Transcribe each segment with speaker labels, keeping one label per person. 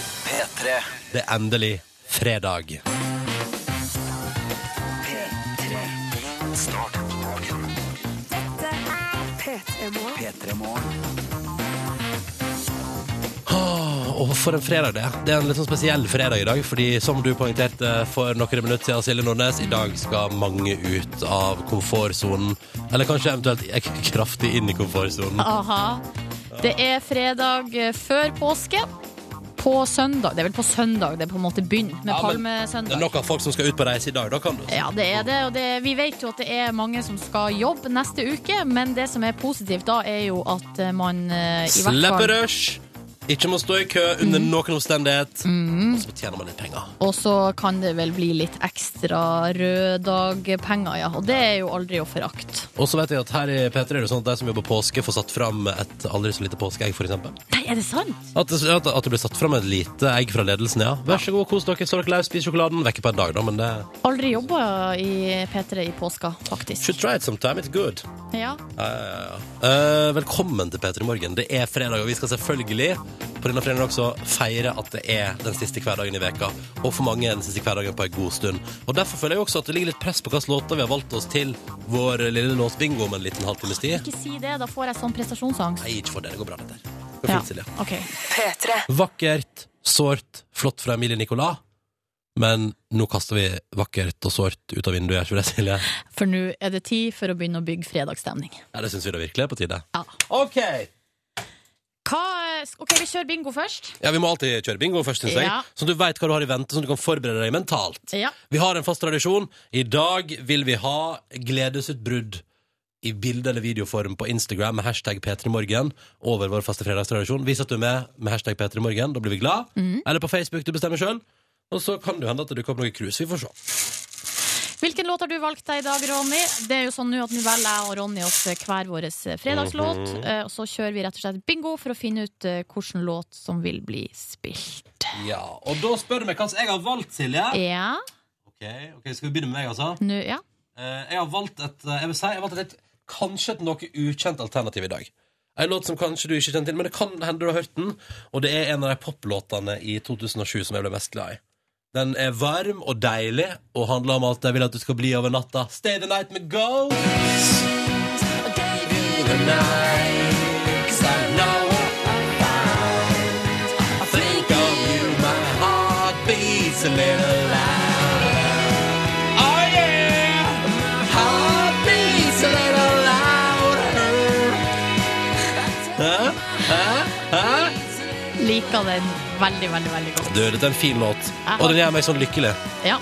Speaker 1: P3.
Speaker 2: Det er endelig fredag. Og for en fredag det. Det er en litt sånn spesiell fredag i dag, fordi som du poengterte for noen minutter siden, Silje Nordnes, i dag skal mange ut av komfortsonen. Eller kanskje eventuelt ek- kraftig inn i komfortsonen.
Speaker 3: Aha. Det er fredag eh, før påske. På søndag. Det er vel på søndag det på en måte begynner,
Speaker 2: Ja, men
Speaker 3: med
Speaker 2: Det er
Speaker 3: palmesøndag. Eh,
Speaker 2: nok av folk som skal ut på reise i dag, da kan du.
Speaker 3: Ja, det er det. Og det, vi vet jo at det er mange som skal jobbe neste uke, men det som er positivt da, er jo at eh, man eh, i hvert
Speaker 2: Slippe
Speaker 3: fall Mm.
Speaker 2: rush. Ikke må stå i kø under noen omstendighet. Og så tjener man litt penger.
Speaker 3: Og så kan det vel bli litt ekstra røddagpenger, ja. Og det er jo aldri å forakte.
Speaker 2: Og så vet jeg at her i P3 er det sånn at de som jobber påske, får satt fram et aldri så lite påskeegg, f.eks.
Speaker 3: Nei, er det sant?
Speaker 2: At, det- at, at det blir satt fram et lite egg fra ledelsen, ja. Vær så god, kos dere, slå dere løs, spis sjokoladen. Vekke på en dag, da, men det
Speaker 3: Aldri jobba i P3 i påska, faktisk.
Speaker 2: Should try it sometime, it's good.
Speaker 3: Ja.
Speaker 2: Ja, ja, ja. Eh, velkommen til P3 Morgen. Det er fredag, og vi skal selvfølgelig på denne fredagen også feire at det er den siste hverdagen i veka. Og for mange er den siste hverdagen på en god stund. Og Derfor føler jeg også at det ligger litt press på hvilke låter vi har valgt oss til vår lille låsbingo om en liten halvtimes tid.
Speaker 3: Ikke si det, da får jeg sånn prestasjonsangst.
Speaker 2: Nei, ikke for det. Det går bra, dette her. Det går
Speaker 3: Ja.
Speaker 2: fint, Silje.
Speaker 3: OK.
Speaker 2: Vakkert, sårt, flott fra Emilie Nicolas. Men nå kaster vi vakkert og sårt ut av vinduet, gjør ikke vi det, Silje?
Speaker 3: For nå er det tid for å begynne å bygge fredagsstemning.
Speaker 2: Ja, det syns vi da virkelig er på tide.
Speaker 3: Ja.
Speaker 2: OK!
Speaker 3: Hva, ok, vi kjører bingo først.
Speaker 2: Ja, vi må alltid kjøre bingo først, syns jeg.
Speaker 3: Ja.
Speaker 2: Så du veit hva du har i vente, så du kan forberede deg mentalt.
Speaker 3: Ja.
Speaker 2: Vi har en fast tradisjon. I dag vil vi ha gledesutbrudd i bilde- eller videoform på Instagram med hashtag P3morgen over vår faste fredagstradisjon. Vis at du er med med hashtag P3morgen, da blir vi glad.
Speaker 3: Mhm.
Speaker 2: Eller på Facebook, du bestemmer sjøl. Og så kan det jo hende at det dukker opp noe cruise. Vi får se.
Speaker 3: Hvilken låt har du valgt deg i dag, Ronny? Det er jo sånn nå at nå velger jeg og Ronny oss eh, hver vår fredagslåt. eh, Og så kjører vi rett og slett bingo for å finne ut eh, hvilken låt som vil bli spilt.
Speaker 2: Ja, Og da spør du meg hva som jeg har valgt, Silje.
Speaker 3: Ja.
Speaker 2: Ok, ok, Skal vi begynne med meg, altså?
Speaker 3: Nå, ja.
Speaker 2: Eh, jeg har valgt et, eh, jeg vil si, jeg har valgt et kanskje et noe ukjent alternativ i dag. En låt som kanskje du ikke kjenner til, men det kan hende du har hørt den. Og det er en av de poplåtene i 2007 som jeg ble mest glad i. Den er varm og deilig og handler om at jeg vil at du skal bli over natta. Stay the night med Go! Beats a little loud. Oh yeah! Heartbeats a little louder. Hæ? Hæ? Hæ?
Speaker 3: Liker den veldig, veldig, veldig godt.
Speaker 2: Du, dette er en fin låt,
Speaker 3: har-
Speaker 2: og den gjør meg sånn lykkelig.
Speaker 3: Ja.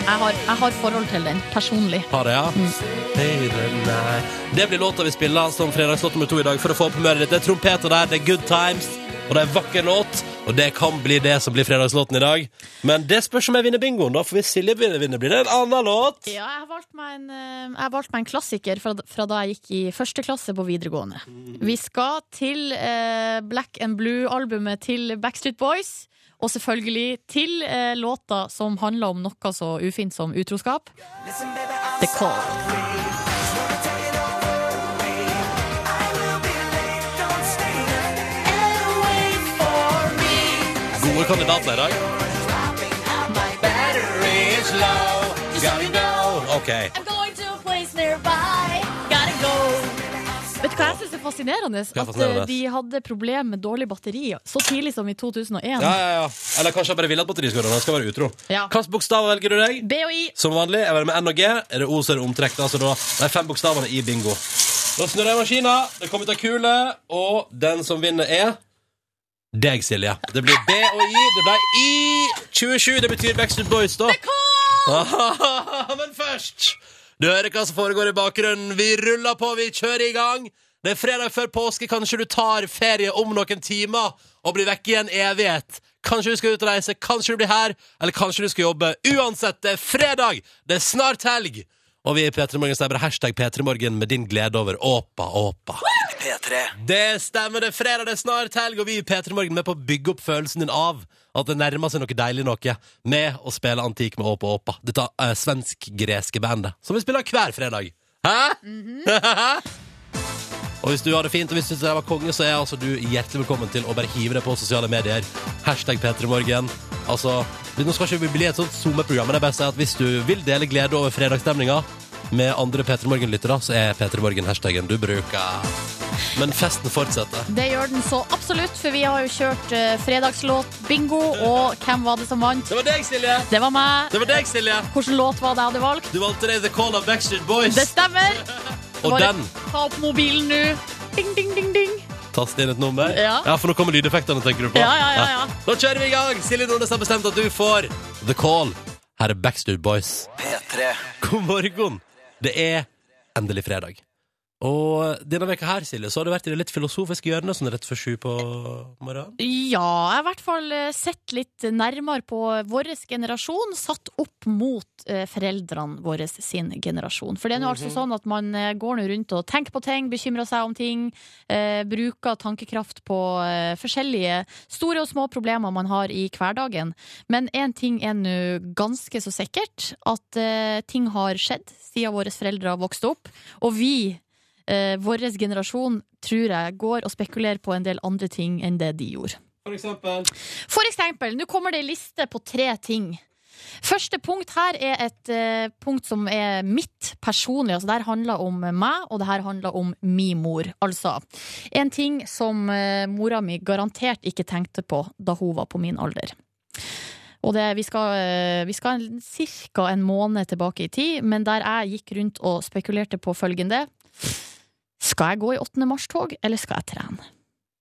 Speaker 3: Jeg har, jeg har forhold til den personlig.
Speaker 2: Ha det, ja. Stay the night. Det blir låta vi spiller som fredagslåt nummer to i dag for å få opp humøret ditt. Det er trompeter der, det er good times, og det er en vakker låt. Og det kan bli det som blir fredagslåten i dag. Men det spørs om jeg vinner bingoen, da, for hvis Silje vinner, vinner, blir det en annen låt.
Speaker 3: Ja, jeg har valgt meg en, eh, jeg har valgt meg en klassiker fra, fra da jeg gikk i første klasse på videregående. Vi skal til eh, Black and Blue-albumet til Backstreet Boys. Og selvfølgelig til eh, låta som handler om noe så ufint som utroskap. The Call.
Speaker 2: Gode kandidater i dag. OK.
Speaker 3: Vet du hva jeg syns er fascinerende?
Speaker 2: er
Speaker 3: At
Speaker 2: fascinerende?
Speaker 3: eh, de hadde problem med dårlig batteri så tidlig som i 2001.
Speaker 2: Ja, ja, ja. Eller kanskje jeg bare vil at batteriet skal gå, den skal være utro.
Speaker 3: Ja.
Speaker 2: Hvilke bokstaver velger du deg?
Speaker 3: B og I.
Speaker 2: Som vanlig er det med N og G. Er det O, så er det omtrekk. Altså da, de fem bokstavene i bingo. Da snurrer jeg maskina. Det kommer ut ei kule, og den som vinner, er deg, Silje. Det blir B og I. Det ble I27. Det betyr Backstreet Boys, da. Men først Du hører hva som foregår i bakgrunnen. Vi ruller på, vi kjører i gang. Det er fredag før påske. Kanskje du tar ferie om noen timer og blir vekke i en evighet. Kanskje du skal ut og reise, kanskje du blir her, eller kanskje du skal jobbe. Uansett, det er fredag! Det er snart helg! Og vi i P3 Morgen sier bare hashtag P3morgen med din glede over Åpa, Åpa.
Speaker 1: P3.
Speaker 2: Det stemmer, det er fredag, det er snart helg, og vi i P3 Morgen er med på å bygge opp følelsen din av at det nærmer seg noe deilig noe med å spille antikk med Åpa Åpa. Dette eh, svensk-greske bandet som vi spiller hver fredag. Hæ? Og hvis du har det fint, og hvis du synes det var konge, så er altså du hjertelig velkommen til å bare hive deg på sosiale medier. Hashtag P3morgen. Altså, vi- nå skal ikke vi bli et sånt SoMe-program, men jeg bare sier at hvis du vil dele glede over fredagsstemninga med andre P3morgen-lyttere, så er P3morgen-hashtagen du bruker. Men festen fortsetter.
Speaker 3: Det gjør den så absolutt, for vi har jo kjørt eh, fredagslåt bingo, og hvem var det som vant?
Speaker 2: Det var deg, Silje!
Speaker 3: Det var meg.
Speaker 2: Det var deg, Silje!
Speaker 3: Hvilken låt var det jeg hadde valgt?
Speaker 2: Du valgte deg The Call of Backstreet Boys.
Speaker 3: Det stemmer.
Speaker 2: Og
Speaker 3: Bare
Speaker 2: den
Speaker 3: Ta opp mobilen nå. Ding, ding, ding, ding.
Speaker 2: Taste inn et nummer?
Speaker 3: Ja.
Speaker 2: For nå kommer lydeffektene, tenker du på?
Speaker 3: Ja, ja, ja, ja.
Speaker 2: Da kjører vi i gang! Silje Nordnes har bestemt at du får The Call. Her er Backstreet Boys.
Speaker 1: P3
Speaker 2: God morgen! Det er endelig fredag. Og denne veka her, Silje, så har du vært i det litt filosofiske hjørnet sånn rett før sju på morgenen.
Speaker 3: Ja, jeg har i hvert fall eh, sett litt nærmere på vår generasjon, satt opp mot eh, foreldrene våre sin generasjon. For det er nå
Speaker 2: Mhm.
Speaker 3: altså sånn at man eh, går nå rundt og tenker på ting, bekymrer seg om ting, eh, bruker tankekraft på eh, forskjellige store og små problemer man har i hverdagen. Men én ting er nå ganske så sikkert, at eh, ting har skjedd siden våre foreldre vokste opp, og vi Eh, Vår generasjon tror jeg går og spekulerer på en del andre ting enn det de gjorde.
Speaker 2: For eksempel.
Speaker 3: For eksempel, nå kommer det en liste på tre ting. Første punkt her er et eh, punkt som er mitt personlig. Altså, det her handler om meg, og det her handler om min mor. Altså en ting som eh, mora mi garantert ikke tenkte på da hun var på min alder. Og det, vi skal, eh, vi skal ca. en måned tilbake i tid, men der jeg gikk rundt og spekulerte på følgende Skal jeg gå i 8. mars-tog, eller skal jeg trene?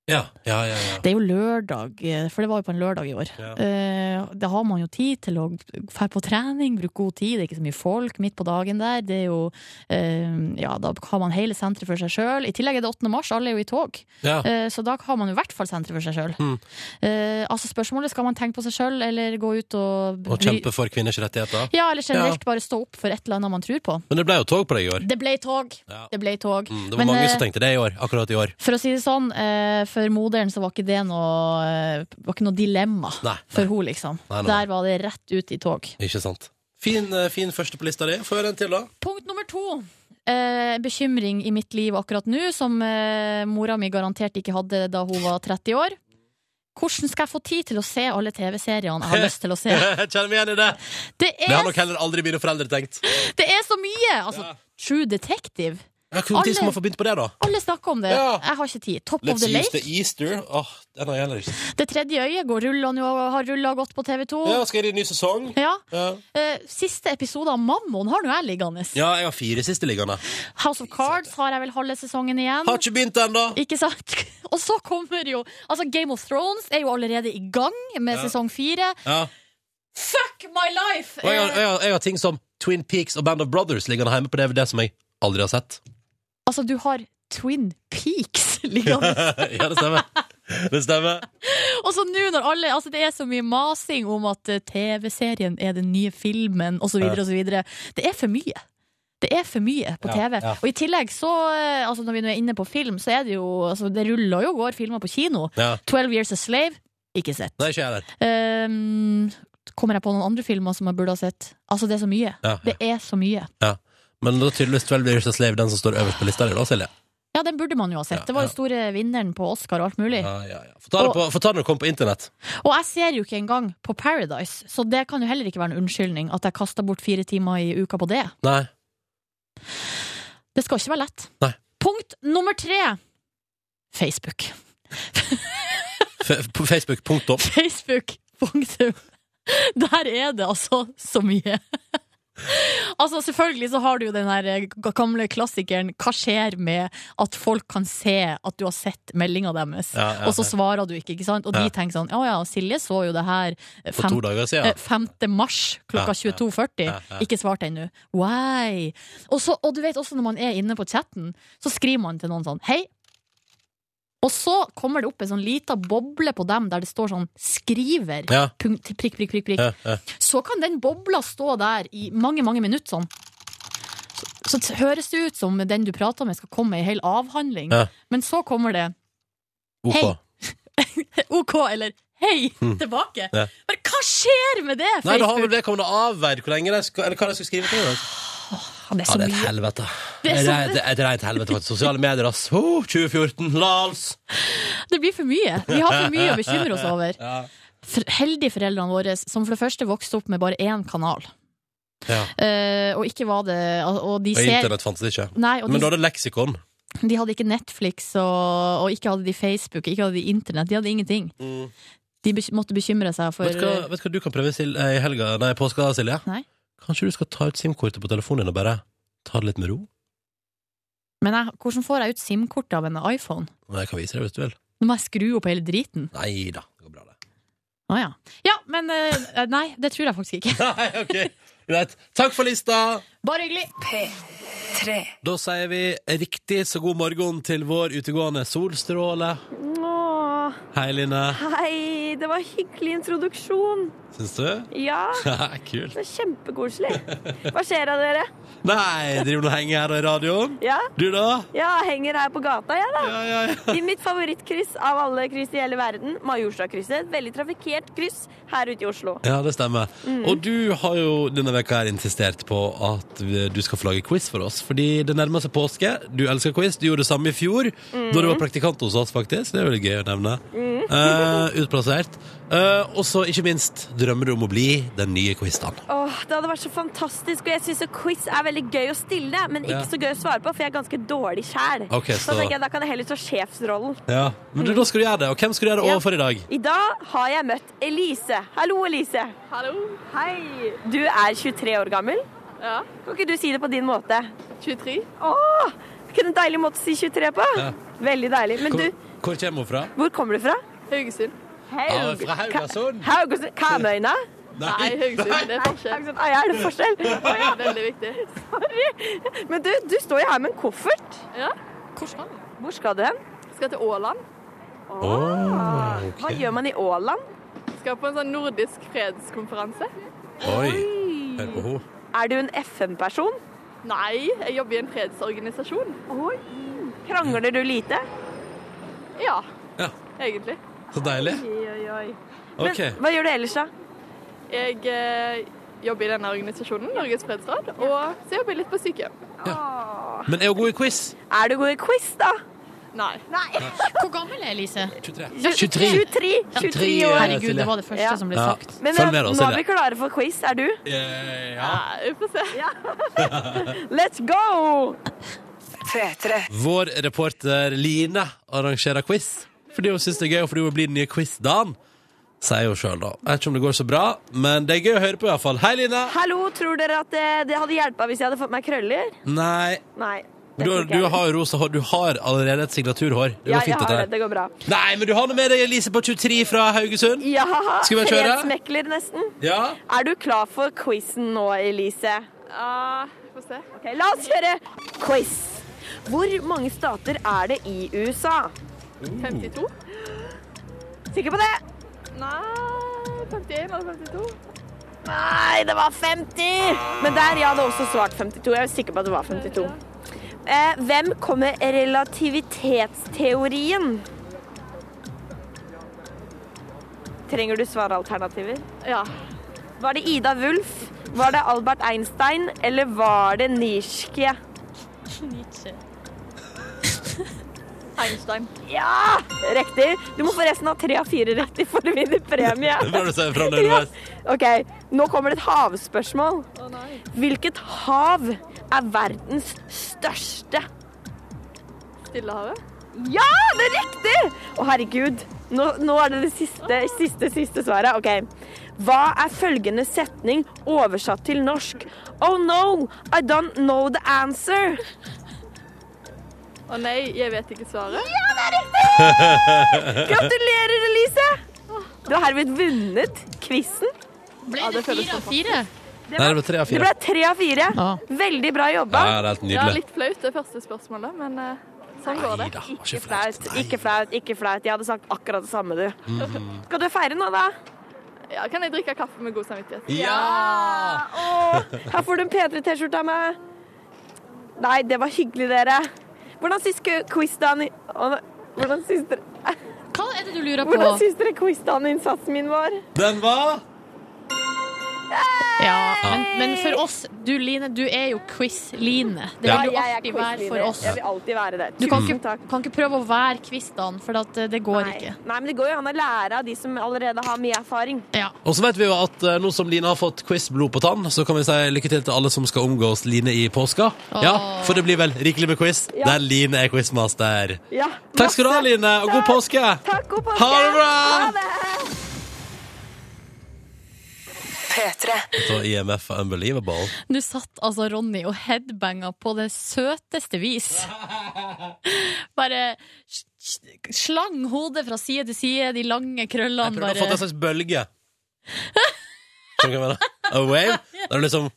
Speaker 2: Ja, ja, ja. ja.
Speaker 3: Det er jo lørdag, eh, for det var jo på en lørdag i år.
Speaker 2: Ja.
Speaker 3: Eh, Da har man jo tid til å dra på trening, bruke god tid, det er ikke så mye folk midt på dagen der. Det er jo, eh, ja, da har man hele senteret for seg sjøl. I tillegg er det 8. mars, alle er jo i tog.
Speaker 2: ja.
Speaker 3: Eh, Så da har man jo i hvert fall senteret for seg sjøl.
Speaker 2: Mm.
Speaker 3: Eh, Altså spørsmålet skal man tenke på seg sjøl, eller gå ut og
Speaker 2: Og kjempe for kvinners rettigheter.
Speaker 3: Ja, eller generelt bare stå opp for et eller annet man tror på.
Speaker 2: Men det ble jo tog på deg i år.
Speaker 3: Det ble tog.
Speaker 2: Ja.
Speaker 3: Det ble tog.
Speaker 2: Mm, det var
Speaker 3: Men,
Speaker 2: mange
Speaker 3: eh,
Speaker 2: som tenkte det i år. Akkurat i år.
Speaker 3: For å si det sånn, eh, for moderen så var ikke det noe, eh, var ikke noe dilemma
Speaker 2: Nei,
Speaker 3: for hun liksom.
Speaker 2: Nei, nei, nei.
Speaker 3: Der var det rett ut i tog.
Speaker 2: Ikke sant. Fin, eh, fin første på lista di. Få høre en til, da.
Speaker 3: Punkt nummer to. Eh, bekymring i mitt liv akkurat nå, som eh, mora mi garantert ikke hadde da hun var 30 år. Hvordan skal jeg få tid til å se alle TV-seriene jeg har lyst til å se?
Speaker 2: Jeg kjenner meg igjen i det.
Speaker 3: Det
Speaker 2: Det har
Speaker 3: er,
Speaker 2: nok heller aldri mine foreldre tenkt.
Speaker 3: det er så mye! Altså,
Speaker 2: Ja.
Speaker 3: True Detective.
Speaker 2: Jeg kunne
Speaker 3: Alle-
Speaker 2: tid som har forbegynt på det, da.
Speaker 3: Alle snakker om det.
Speaker 2: Ja.
Speaker 3: Jeg har ikke tid. Top
Speaker 2: Let's
Speaker 3: of the
Speaker 2: use the
Speaker 3: Lake.
Speaker 2: Easter. Åh, den har jeg heller ikke sett.
Speaker 3: Det tredje øyet går rulla nå, har rulla godt på TV2.
Speaker 2: Ja, skal jeg i ny sesong?
Speaker 3: Ja.
Speaker 2: Ja.
Speaker 3: Eh, siste episode av Mammon har nå jeg liggende.
Speaker 2: ja, jeg har fire siste liggende.
Speaker 3: House of Cards har jeg vel halve sesongen igjen.
Speaker 2: Har ikke begynt ennå.
Speaker 3: Ikke sant? Og så kommer jo Altså, Game of Thrones er jo allerede i gang med
Speaker 2: Ja.
Speaker 3: sesong fire.
Speaker 2: Ja.
Speaker 3: Fuck my life!
Speaker 2: Og jeg, har-
Speaker 3: Eh,
Speaker 2: jeg, har- jeg har ting som Twin Peaks og Band of Brothers liggende hjemme på DVD som jeg aldri har sett.
Speaker 3: altså, du har Twin Peaks liggende.
Speaker 2: ja, det stemmer. Det stemmer.
Speaker 3: Og så nå når alle Altså, det er så mye masing om at eh, TV-serien er den nye filmen, osv.,
Speaker 2: Ja.
Speaker 3: osv. Det er for mye. Det er for mye på
Speaker 2: Ja,
Speaker 3: TV.
Speaker 2: ja.
Speaker 3: Og i tillegg så, eh, altså når vi nå er inne på film, så er det jo altså Det ruller jo og går filmer på kino.
Speaker 2: Ja.
Speaker 3: 12 Years a Slave, ikke sett.
Speaker 2: Nei, ikke jeg heller.
Speaker 3: Ehm, kommer jeg på noen andre filmer som jeg burde ha sett? Altså, det er så mye.
Speaker 2: Ja, ja.
Speaker 3: Det er så mye.
Speaker 2: Men da tydeligvis 12 Years a Slave den som står øverst på lista di, da, Silje.
Speaker 3: Ja, den burde man jo ha sett.
Speaker 2: Ja,
Speaker 3: Det var jo
Speaker 2: ja.
Speaker 3: store vinneren på Oscar og alt mulig.
Speaker 2: Ja, ja, ja. Få ta det på- få ta det når det kommer på internett.
Speaker 3: Og jeg ser jo ikke engang på Paradise, så det kan jo heller ikke være en unnskyldning at jeg kasta bort fire timer i uka på det.
Speaker 2: Nei.
Speaker 3: Det skal ikke være lett.
Speaker 2: Nei.
Speaker 3: Punkt nummer tre. Facebook.
Speaker 2: F på Facebook. Punktum.
Speaker 3: Facebook. Punktum. Der er det altså så mye. Altså Selvfølgelig så har du jo den her eh, gamle klassikeren 'Hva skjer med at folk kan se at du har sett meldinga deres?'
Speaker 2: Ja, ja,
Speaker 3: Og så
Speaker 2: ja.
Speaker 3: svarer du ikke, ikke sant? Og
Speaker 2: Ja.
Speaker 3: de tenker sånn 'Å ja, Silje så jo det her
Speaker 2: For to
Speaker 3: fem-
Speaker 2: dager
Speaker 3: eh,
Speaker 2: siden.
Speaker 3: 5. mars klokka
Speaker 2: Ja, ja.
Speaker 3: 22.40.
Speaker 2: Ja, ja.
Speaker 3: Ikke svart ennå. Why? Og, så, og du vet også når man er inne på chatten, så skriver man til noen sånn hei. Og så kommer det opp en sånn lita boble på dem der det står sånn skriver.
Speaker 2: Ja.
Speaker 3: Punkt, prikk, prikk, prikk, prikk.
Speaker 2: Ja, ja.
Speaker 3: Så kan den bobla stå der i mange, mange minutter sånn. Så, så t- høres det ut som den du prater med skal komme med ei hel avhandling.
Speaker 2: Ja.
Speaker 3: Men så kommer det
Speaker 2: OK.
Speaker 3: Hei. OK eller hei tilbake.
Speaker 2: Mm. Ja.
Speaker 3: Bare hva skjer med det?
Speaker 2: Nei, da har
Speaker 3: Facebook?
Speaker 2: vel vedkommende avveid hvor lenge de skal, eller hva de skal skrive til. deg.
Speaker 3: Han er
Speaker 2: Ja,
Speaker 3: så
Speaker 2: det er et
Speaker 3: mye.
Speaker 2: helvete.
Speaker 3: Det
Speaker 2: Det
Speaker 3: er
Speaker 2: er
Speaker 3: så-
Speaker 2: et, et rent helvete, faktisk. Sosiale medier, ass. Oh, 2014, lals!
Speaker 3: Det blir for mye. Vi har for mye å bekymre oss over.
Speaker 2: Ja.
Speaker 3: For, heldige foreldrene våre, som for det første vokste opp med bare én kanal.
Speaker 2: Ja.
Speaker 3: Eh, og ikke var det al- Og de
Speaker 2: Og
Speaker 3: ser
Speaker 2: internett fantes ikke.
Speaker 3: Nei, og
Speaker 2: Men
Speaker 3: de,
Speaker 2: du hadde leksikon.
Speaker 3: de hadde ikke Netflix, og, og ikke hadde de Facebook, ikke hadde de internett. De hadde ingenting. De bek- måtte bekymre seg Mm. for
Speaker 2: Vet du hva, vet du hva du kan prøve Sil- eh, i helga, nei, påska, Silje?
Speaker 3: Nei.
Speaker 2: Kanskje du skal ta ut SIM-kortet på telefonen din og bare ta det litt med ro?
Speaker 3: Men jeg, hvordan får jeg ut SIM-kortet av en iPhone?
Speaker 2: Nei, Jeg kan vise deg hvis du vil.
Speaker 3: Nå må jeg skru opp hele driten.
Speaker 2: Nei da, det går bra, det.
Speaker 3: Å ja. Ja, men eh, Nei, det tror jeg faktisk ikke.
Speaker 2: Nei, ok. Greit. Takk for lista!
Speaker 3: Bare hyggelig.
Speaker 1: Tre.
Speaker 2: Da sier vi riktig så god morgen til vår utegående solstråle.
Speaker 4: Åh,
Speaker 2: Hei, Line.
Speaker 4: hei, det var hyggelig introduksjon.
Speaker 2: Syns du?
Speaker 4: Ja,
Speaker 2: Kult.
Speaker 4: det var kjempekoselig. Hva skjer av dere?
Speaker 2: Nei, driver du og henger her i radioen?
Speaker 4: Ja,
Speaker 2: Du, da?
Speaker 4: ja, henger her på gata, jeg da.
Speaker 2: Ja, ja, ja.
Speaker 4: I mitt favorittkryss av alle kryss i hele verden, Majorstadkrysset. Et veldig trafikkert kryss her ute i Oslo.
Speaker 2: Ja, det stemmer.
Speaker 4: Mm.
Speaker 2: Og du har jo denne veka her insistert på at du skal få lage quiz for oss. Fordi det nærmer seg påske. Du elsker quiz. Du gjorde det samme i fjor, da
Speaker 4: Mm.
Speaker 2: du var praktikant hos oss, faktisk. Det er veldig gøy å nevne. Eh, utplassert. Eh, og så, ikke minst, drømmer du om å bli den nye quiz-en.
Speaker 4: Åh, det hadde vært så fantastisk, og jeg synes jo quiz er veldig gøy å stille, men
Speaker 2: Ja.
Speaker 4: ikke så gøy å svare på, for jeg er ganske dårlig sjæl.
Speaker 2: Ok, så-
Speaker 4: så... tenker jeg, da kan jeg heller ta sjefsrollen.
Speaker 2: Ja. Men du, da skal du gjøre det. Og hvem skal du gjøre det
Speaker 4: Mm. Ja.
Speaker 2: overfor i dag?
Speaker 4: I dag har jeg møtt Elise. Hallo, Elise.
Speaker 5: Hallo. Hei.
Speaker 4: Du er 23 år gammel.
Speaker 5: Ja,
Speaker 4: Kan ikke du si det på din måte?
Speaker 5: 23.
Speaker 4: Åh, ikke en deilig måte å si 23 på?
Speaker 2: Ja.
Speaker 4: Veldig deilig. Men
Speaker 2: Hvor,
Speaker 4: du,
Speaker 2: hvor kommer hun fra?
Speaker 4: hvor kommer du fra?
Speaker 5: Haugesund.
Speaker 2: Ja, fra Haugesund.
Speaker 4: Haugesund. Kamøyna?
Speaker 5: Nei, Haugesund. Det er forskjell.
Speaker 4: Haugesund. Ah, ja, er det forskjell? Å,
Speaker 5: Det
Speaker 4: ja.
Speaker 5: er veldig viktig.
Speaker 4: Sorry. Men du, du står jo her med en koffert.
Speaker 5: Ja.
Speaker 4: Hvor skal du hen?
Speaker 5: Skal til Åland.
Speaker 2: Åh, ok.
Speaker 4: Hva gjør man i Åland?
Speaker 5: Skal på en sånn nordisk fredskonferanse.
Speaker 2: Oi, hør på henne.
Speaker 4: Er du en FN-person?
Speaker 5: Nei, jeg jobber i en fredsorganisasjon.
Speaker 4: Krangler du lite?
Speaker 5: Ja,
Speaker 2: Ja,
Speaker 5: egentlig.
Speaker 2: så deilig.
Speaker 4: Men
Speaker 2: Ok.
Speaker 4: hva gjør du ellers, da?
Speaker 5: Jeg eh, jobber i denne organisasjonen, Norges fredsråd, og så jobber jeg litt på sykehjem.
Speaker 2: Men er hun god i quiz?
Speaker 4: Er du god i quiz, da?
Speaker 5: Nei.
Speaker 3: Hvor gammel er Elise?
Speaker 2: 23.
Speaker 4: 23, 23 år.
Speaker 3: Herregud, det var det første
Speaker 4: Ja.
Speaker 3: som ble
Speaker 2: Ja.
Speaker 3: sagt.
Speaker 4: Men
Speaker 2: Følg med, da,
Speaker 4: nå er vi
Speaker 2: Silje.
Speaker 4: klare for quiz, er du?
Speaker 2: Eh, Ja.
Speaker 5: Nei, Vi får se.
Speaker 4: Let's go!
Speaker 1: P3.
Speaker 2: Vår reporter Line arrangerer quiz fordi hun syns det er gøy, og fordi hun blir den nye quiz-dagen. Sier hun sjøl, da. Jeg vet ikke om det går så bra, men det er gøy å høre på, i hvert fall Hei, Line!
Speaker 4: Hallo, tror dere at det, det hadde hjulpet hvis jeg hadde fått meg krøller?
Speaker 2: Nei.
Speaker 4: Nei. det
Speaker 2: Men du,
Speaker 4: tror ikke
Speaker 2: du
Speaker 4: jeg.
Speaker 2: har jo rosa hår. Du har allerede et signaturhår. Det går
Speaker 4: ja,
Speaker 2: fint,
Speaker 4: jeg har
Speaker 2: dette
Speaker 4: det.
Speaker 2: her.
Speaker 4: Det går bra.
Speaker 2: Nei, men du har noe med deg Elise på 23 fra Haugesund?
Speaker 4: Ja,
Speaker 2: Skal vi kjøre?
Speaker 4: fredsmekler nesten.
Speaker 2: Ja?
Speaker 4: Er du klar for quizen nå, Elise?
Speaker 5: Ja, vi får se.
Speaker 4: Ok, la oss kjøre quiz. Hvor mange stater er det i USA?
Speaker 5: 52?
Speaker 4: Sikker på det?
Speaker 5: Nei 51 eller 52?
Speaker 4: Nei, det var 50! Men der, jeg hadde også svart 52. Jeg er sikker på at det var 52. Eh, hvem kom med relativitetsteorien? Trenger du svaralternativer?
Speaker 5: Ja.
Speaker 4: Var det Ida Wulf? Var det Albert Einstein? Eller var det Nietzsche?
Speaker 5: Einstein.
Speaker 4: Ja! Riktig. Du må forresten ha tre av fire riktig for å vinne premie.
Speaker 2: Det er bra du ser fram nervøs.
Speaker 4: OK, nå kommer det et havspørsmål.
Speaker 5: Å nei.
Speaker 4: Hvilket hav er verdens største?
Speaker 5: Stillehavet?
Speaker 4: Ja, det er riktig! Å, herregud. Nå, nå er det det siste, siste, siste svaret. OK. Hva er følgende setning oversatt til norsk? Oh no, I don't know the answer.
Speaker 5: Å nei, jeg vet ikke svaret.
Speaker 4: Ja, det er riktig! Gratulerer, Elise. Du har herved vunnet quizen.
Speaker 3: Ble det
Speaker 5: det føles
Speaker 3: fire av fire?
Speaker 2: Nei, det ble tre av
Speaker 4: Det
Speaker 2: fire.
Speaker 4: ble tre av fire.
Speaker 3: Ja.
Speaker 4: Veldig bra jobba.
Speaker 2: Ja, det er helt
Speaker 5: Ja,
Speaker 2: nydelig.
Speaker 5: litt flaut det første spørsmålet, men eh, sånn går
Speaker 2: Nei
Speaker 5: det.
Speaker 2: da, var
Speaker 4: Ikke
Speaker 2: ikke
Speaker 4: flaut,
Speaker 2: flaut.
Speaker 4: ikke flaut, ikke flaut. Jeg hadde sagt akkurat det samme, du. Skal du feire nå, da?
Speaker 5: Ja, kan jeg drikke kaffe med god samvittighet?
Speaker 2: Ja!
Speaker 4: Åh, her får du en P3-T-skjorte av meg. Nei, det var hyggelig, dere. Hvordan syns dere quiz-dagen i- Åh, nei. Hvordan syns dere-
Speaker 3: Hva er det du lurer
Speaker 4: hvordan
Speaker 3: på?
Speaker 4: syns dere quiz-dagen-innsatsen min var?
Speaker 2: Den var
Speaker 3: Ja, men, men for oss, du Line, du er jo quiz-Line. Det
Speaker 2: Ja.
Speaker 3: vil du
Speaker 4: jeg er
Speaker 3: alltid være for
Speaker 4: quiz-leader.
Speaker 3: oss.
Speaker 4: Jeg vil alltid være det.
Speaker 3: Du kan
Speaker 4: Tusen
Speaker 3: ikke,
Speaker 4: takk.
Speaker 3: kan ikke prøve å være kvistene, for at eh, det går
Speaker 4: Nei.
Speaker 3: ikke.
Speaker 4: Nei, men det går jo an å lære av de som allerede har mye erfaring.
Speaker 3: Ja.
Speaker 2: Og så vet vi jo at eh, nå som Line har fått quiz blod på tann, så kan vi si lykke til til alle som skal omgås Line i påska. Ja, for det blir vel rikelig med quiz
Speaker 4: Ja.
Speaker 2: der Line er quizmaster.
Speaker 4: Ja,
Speaker 2: Takk skal du ha,
Speaker 4: masse.
Speaker 2: Line, og god
Speaker 4: Takk.
Speaker 2: påske!
Speaker 4: Takk, god påske!
Speaker 2: Ha det bra!
Speaker 4: Ha det!
Speaker 1: P3.
Speaker 2: Så IMF og Unbelievable.
Speaker 3: Nå satt altså Ronny og headbanga på det søteste vis. Bare s- s- slang hodet fra side til side, de lange
Speaker 2: Jeg
Speaker 3: krøllene
Speaker 2: prøvde å få til en
Speaker 3: bare
Speaker 2: slags bølge. Skjønner du hva jeg mener? A wave? Der du liksom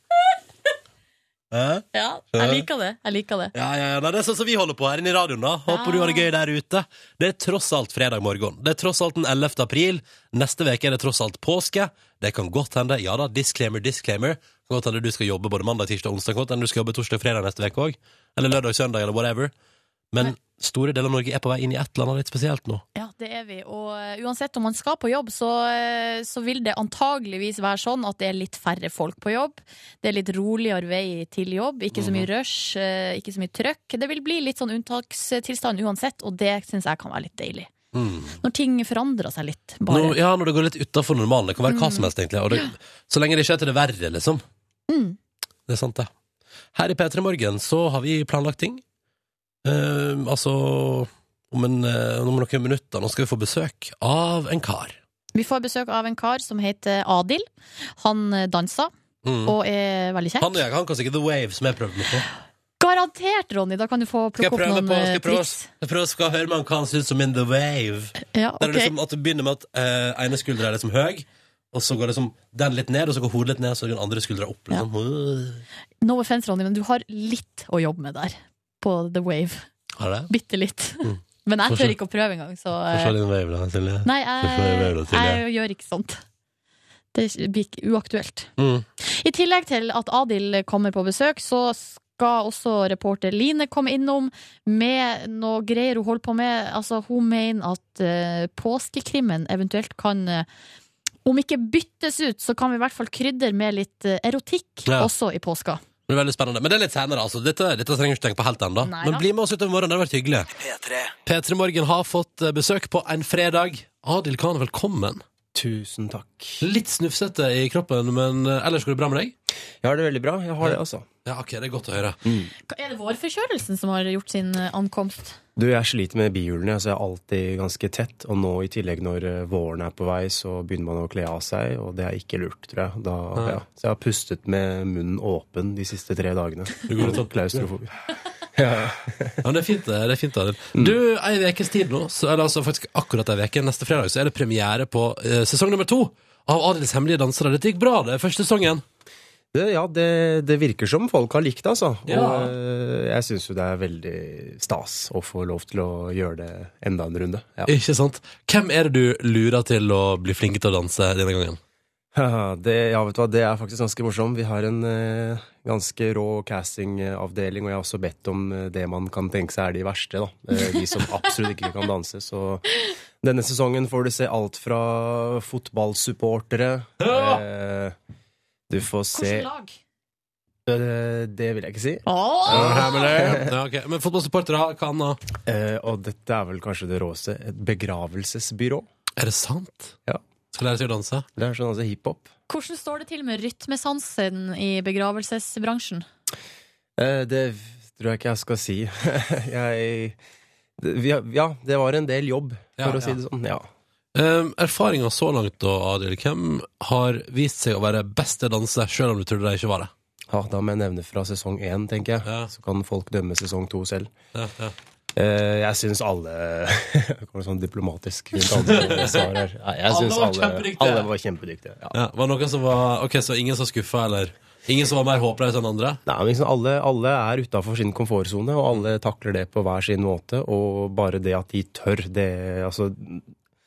Speaker 2: Hæ?
Speaker 3: Ja, jeg liker det. Jeg liker det.
Speaker 2: Ja, ja, ja. Nei, det er sånn som vi holder på her inne i radioen. da Håper du har det gøy der ute. Det er tross alt fredag morgen. Det er tross alt den 11. april. Neste uke er det tross alt påske. Det kan godt hende. Ja da, disclaimer, disclaimer. Det kan Godt hende du skal jobbe både mandag, tirsdag og onsdag. Godt hende du skal jobbe torsdag og fredag neste uke òg. Eller lørdag og søndag, eller whatever. Men store deler av Norge er på vei inn i et eller annet litt spesielt nå.
Speaker 3: Ja, det er vi. Og eh, uansett om man skal på jobb, så, eh, så vil det antageligvis være sånn at det er litt færre folk på jobb. Det er litt roligere vei til jobb. Ikke
Speaker 2: Mhm.
Speaker 3: så mye rush, eh, ikke så mye trøkk. Det vil bli litt sånn unntakstilstand uansett, og det syns jeg kan være litt deilig.
Speaker 2: Mm.
Speaker 3: Når ting forandrer seg litt, bare.
Speaker 2: Nå, ja, når det går litt utafor normalen. Det kan være hva som helst, egentlig. Og det, så lenge det ikke er til det verre, liksom.
Speaker 3: Mm.
Speaker 2: Det er sant, det. Her i P3 Morgen så har vi planlagt ting. Eh, altså om, en, eh, om noen minutter nå skal vi få besøk av en kar.
Speaker 3: Vi får besøk av en kar som heter Adil. Han eh, danser
Speaker 2: Mm.
Speaker 3: og er veldig kjekk.
Speaker 2: Han, er- han kan sikkert The Wave, som jeg prøvde meg på.
Speaker 3: Garantert, Ronny! Da kan du få
Speaker 2: Skal jeg
Speaker 3: plukke opp
Speaker 2: prøve
Speaker 3: noen
Speaker 2: på, skal
Speaker 3: eh,
Speaker 2: jeg prøve,
Speaker 3: triks.
Speaker 2: skal jeg prøve skal jeg høre med han hva han syns om In The Wave.
Speaker 3: Ja,
Speaker 2: Der er det
Speaker 3: ok.
Speaker 2: liksom at det begynner med at eh, ene skuldra er liksom høy, og så går liksom den litt ned, og så går hodet litt ned, og så går den andre skuldra opp. Liksom.
Speaker 3: No offense, Ronny, men du har litt å jobbe med der. På The Wave.
Speaker 2: Har det?
Speaker 3: Bitte litt. Men
Speaker 2: Mm. Få
Speaker 3: jeg
Speaker 2: se.
Speaker 3: tør ikke å prøve engang, så eh,
Speaker 2: Få se din wave, da, Silje.
Speaker 3: Nei,
Speaker 2: Få se Wave da,
Speaker 3: jeg,
Speaker 2: Silje.
Speaker 3: jeg gjør ikke sånt. Det blir ikke uaktuelt.
Speaker 2: Mm.
Speaker 3: I tillegg til at Adil kommer på besøk, så skal også reporter Line komme innom med noe greier hun holder på med. Altså, hun mener at eh, påskekrimmen eventuelt kan eh, om ikke byttes ut, så kan vi i hvert fall krydre med litt eh, erotikk
Speaker 2: Ja.
Speaker 3: også i påska.
Speaker 2: Det blir veldig spennende, men det er litt senere altså. dette, dette trenger du ikke tenke på helt ennå
Speaker 3: Nei
Speaker 2: Men
Speaker 3: da.
Speaker 2: bli med oss utover morgenen, det har vært hyggelig P3 Morgen har fått eh, besøk på en fredag Adil Khan, velkommen
Speaker 6: Tusen takk.
Speaker 2: Litt snufsete i kroppen, men eh, ellers går det bra med deg?
Speaker 6: Jeg har det veldig bra. Jeg har det, altså.
Speaker 2: Ja, ok, det er godt å høre
Speaker 3: Er det vårforkjølelsen som har gjort sin eh, ankomst?
Speaker 6: Du, jeg sliter med bihulene, så jeg er alltid ganske tett. Og nå i tillegg når eh, våren er på vei, så begynner man å kle av seg, og det er ikke lurt, tror jeg. Da, ja. Så jeg har pustet med munnen åpen de siste tre dagene. Du
Speaker 2: går ut av-
Speaker 6: klaustrofobi.
Speaker 2: Ja, men det er fint, eh, det det er fint Adil Du, ei vekes tid nå, så, eller altså faktisk akkurat ei veke Neste fredag så er det premiere på eh, sesong nummer to Av Adils hemmelige dansere Dette gikk bra, det er første sesongen
Speaker 6: Det, ja, det, det virker som folk har likt det, altså.
Speaker 2: Ja.
Speaker 6: Og eh, jeg syns jo det er veldig stas å få lov til å gjøre det enda en runde. Ja.
Speaker 2: Ikke sant? Hvem er det du lurer til å bli flink til å danse denne gangen?
Speaker 6: Haha, Det, ja, vet du hva, det er faktisk ganske morsomt. Vi har en eh, ganske rå castingavdeling, og jeg har også bedt om eh, det man kan tenke seg er de verste, da. Eh, de som absolutt ikke kan danse. Så denne sesongen får du se alt fra fotballsupportere
Speaker 2: Ja!
Speaker 6: eh, Du får se
Speaker 3: Hvilket lag?
Speaker 6: Eh, Det vil jeg ikke si.
Speaker 3: Åh!
Speaker 2: Ja, ok. Men fotballsupportere kan da
Speaker 6: Eh, og dette er vel kanskje det råeste. Et begravelsesbyrå.
Speaker 2: Er det sant?
Speaker 6: Ja.
Speaker 2: Skal lære seg å danse?
Speaker 6: Det er sånn altså hiphop.
Speaker 3: Hvordan står det til med rytmesansen i begravelsesbransjen?
Speaker 6: Eh, Det tror jeg ikke jeg skal si. jeg det- vi har- Ja, det var en del jobb, for
Speaker 2: Ja,
Speaker 6: å si
Speaker 2: ja.
Speaker 6: det sånn. Ja.
Speaker 2: Um, Erfaringa så langt, da, Adil, hvem har vist seg å være best til å danse, sjøl om du trodde de ikke var det?
Speaker 6: ja, Da må jeg nevne fra sesong én, tenker jeg.
Speaker 2: Ja.
Speaker 6: Så kan folk dømme sesong to selv.
Speaker 2: Ja, ja.
Speaker 6: Eh, Jeg syns alle Det kommer sånn diplomatisk rundt alle svar her. Nei, Jeg
Speaker 2: Alle
Speaker 6: syns
Speaker 2: var
Speaker 6: alle,
Speaker 2: kjempedyktige.
Speaker 6: alle var kjempedyktige. Ja.
Speaker 2: Ja, var det noen som var Ok, så ingen som skuffa, eller? Ingen som var mer håpløs enn andre?
Speaker 6: Nei, men liksom alle, alle er utafor sin komfortsone, og alle takler det på hver sin måte. Og bare det at de tør, det Altså,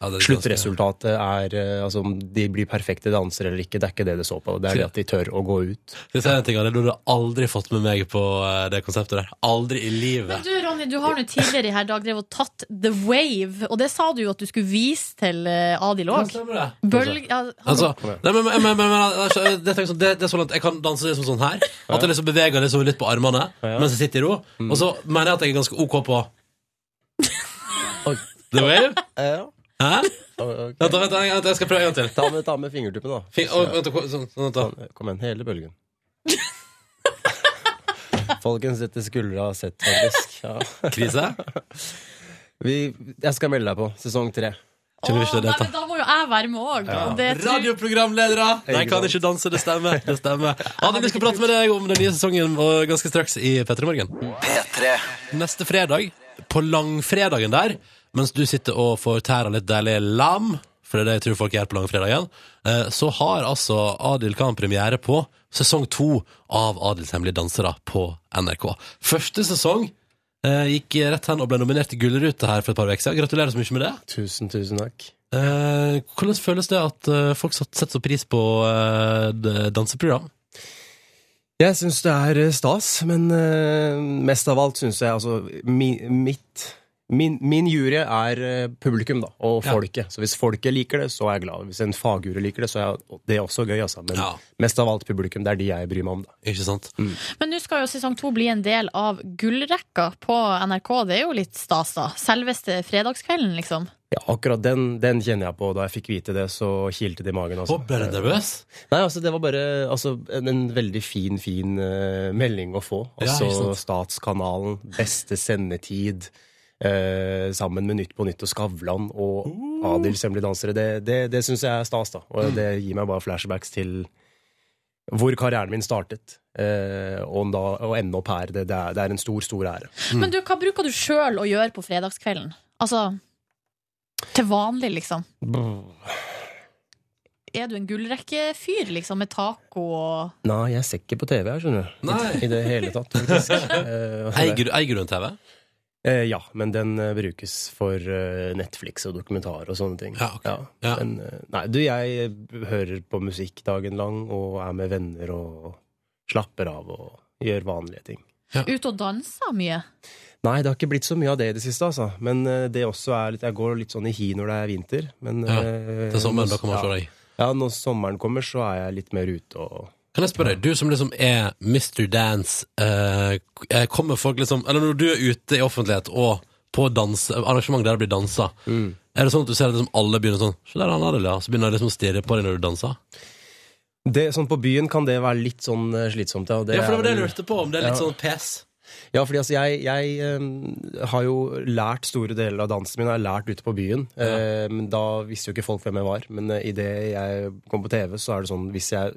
Speaker 2: Ja, det er
Speaker 6: Sluttresultatet er eh, altså om de blir perfekte dansere eller ikke, det er ikke det det står på. Det er det at de tør å gå ut.
Speaker 2: Skal jeg si en ting, Anne? Du hadde aldri fått med meg på eh, det konseptet der. Aldri i
Speaker 3: Men
Speaker 2: livet.
Speaker 3: du, Ronny, du har nå tidligere i her dag drevet og tatt The Wave, og det sa du jo at du skulle vise til eh, Adil
Speaker 2: Ja,
Speaker 3: òg.
Speaker 2: stemmer det.
Speaker 3: Bølg... Ja, han-
Speaker 2: Altså, nei, men, men, men, men, altså, det, er sånn- det, det er sånn at jeg kan danse liksom sånn her. At jeg liksom beveger liksom litt på armene mens jeg sitter i ro. Og så mener jeg at jeg er ganske OK på
Speaker 6: Oi.
Speaker 2: The Wave. Hæ?
Speaker 6: Eh, Ok.
Speaker 2: Vent, da, vent, da, vent, da, jeg skal prøve en gang til.
Speaker 6: Ta med, ta med fingertuppen, da.
Speaker 2: Fin, å, vent, da, sånn, sånn, vent, da.
Speaker 6: Ta- Kom igjen, hele bølgen. Folkens, dette skulle dere ha sett, faktisk. Ja.
Speaker 2: Krise?
Speaker 6: Vi, jeg skal melde deg på. Sesong tre.
Speaker 2: Kjenner du
Speaker 3: Åh,
Speaker 2: ikke
Speaker 3: nei,
Speaker 2: dette?
Speaker 3: men da må jo jeg være med òg. og det tror-
Speaker 2: Radioprogramledere! Nei,
Speaker 6: Ikke
Speaker 2: kan
Speaker 6: sant.
Speaker 2: ikke danse, det stemmer. Det stemmer. Anne, vi skal prate med deg om den nye sesongen og ganske straks i P3 Morgen.
Speaker 7: P3
Speaker 2: Neste fredag, på langfredagen der, mens du sitter og får tæra litt deilig lam, for det er det jeg tror folk gjør på langfredagen, eh, så har altså Adil Khan premiere på sesong to av Adils hemmelige dansere på NRK. Første sesong eh, gikk rett hen og ble nominert til Gullrute her for et par uker siden. Gratulerer så mye med det.
Speaker 6: Tusen, tusen takk.
Speaker 2: Eh, hvordan føles det at eh, folk satt- setter så pris på eh, d- danseprogram?
Speaker 6: Jeg syns det er eh, stas, men eh, mest av alt syns jeg altså mi, mitt Min, min jury er eh, publikum da, og
Speaker 2: Ja.
Speaker 6: folket. Så hvis folket liker det, så er jeg glad. Hvis en fagjury liker det, så er det også gøy. Altså. Men
Speaker 2: Ja.
Speaker 6: mest av alt publikum. Det er de jeg bryr meg om. Da.
Speaker 2: Ikke sant?
Speaker 3: Men nå skal jo sesong to bli en del av gullrekka på NRK. Det er jo litt stas, da. Selveste fredagskvelden, liksom.
Speaker 6: Ja, akkurat den, den kjenner jeg på. Da jeg fikk vite det, så kilte det i magen. Altså.
Speaker 2: Og ble du nervøs?
Speaker 6: Nei, altså det var bare altså, en, en veldig fin, fin eh, melding å få.
Speaker 2: Ja,
Speaker 6: Altså
Speaker 2: ikke sant.
Speaker 6: Statskanalen, beste sendetid, eh, sammen med Nytt på Nytt og Skavlan og Adils hemmelige dansere. Det, det, det syns jeg er stas, da. Og det gir meg bare flashbacks til hvor karrieren min startet. Eh, og da å ende opp her, det, det, er, det er en stor, stor ære.
Speaker 3: Men du, hva bruker du sjøl å gjøre på fredagskvelden? Altså til vanlig, liksom. Er du en gullrekkefyr, liksom, med taco og
Speaker 6: Nei, jeg ser ikke på TV her, skjønner du.
Speaker 2: Nei.
Speaker 6: I det hele tatt, faktisk. Eh, og det-
Speaker 2: Eier du- eier du en TV?
Speaker 6: Eh, ja, men den eh, brukes for eh, Netflix og dokumentar og sånne ting.
Speaker 2: Ja, ok. Ja.
Speaker 6: Men, eh, nei, du, jeg eh, hører på musikk dagen lang og er med venner og slapper av og gjør vanlige ting.
Speaker 3: Ute og danser mye?
Speaker 6: Nei, det har ikke blitt så mye av det i det siste, altså. Men eh, det også er litt Jeg går litt sånn i hi når det er vinter. Men
Speaker 2: Ja,
Speaker 6: eh,
Speaker 2: Til sommeren,
Speaker 6: nå-
Speaker 2: da kan man
Speaker 6: ja,
Speaker 2: se deg.
Speaker 6: Ja, når sommeren kommer, så er jeg litt mer ute og
Speaker 2: Kan jeg spørre deg, du som liksom er Mr. Dance, eh, eh, kommer folk liksom Eller når du er ute i offentlighet og på dans, arrangement der det blir dansa,
Speaker 6: Mm.
Speaker 2: er det sånn at du ser at liksom alle begynner sånn Se der, han Adil, ja. Så begynner de liksom å stirre på deg når du danser?
Speaker 6: det, Sånn på byen kan det være litt sånn eh, slitsomt, ja. og
Speaker 2: Ja, for det
Speaker 6: er
Speaker 2: var det jeg
Speaker 6: vel-
Speaker 2: lurte på, om det er litt
Speaker 6: Ja.
Speaker 2: sånn pes.
Speaker 6: Ja, fordi altså jeg, jeg eh, har jo lært store deler av dansen min, har jeg lært ute på byen. Eh, men da visste jo ikke folk hvem jeg var. Men uh, idet jeg kom på TV, så er det sånn hvis jeg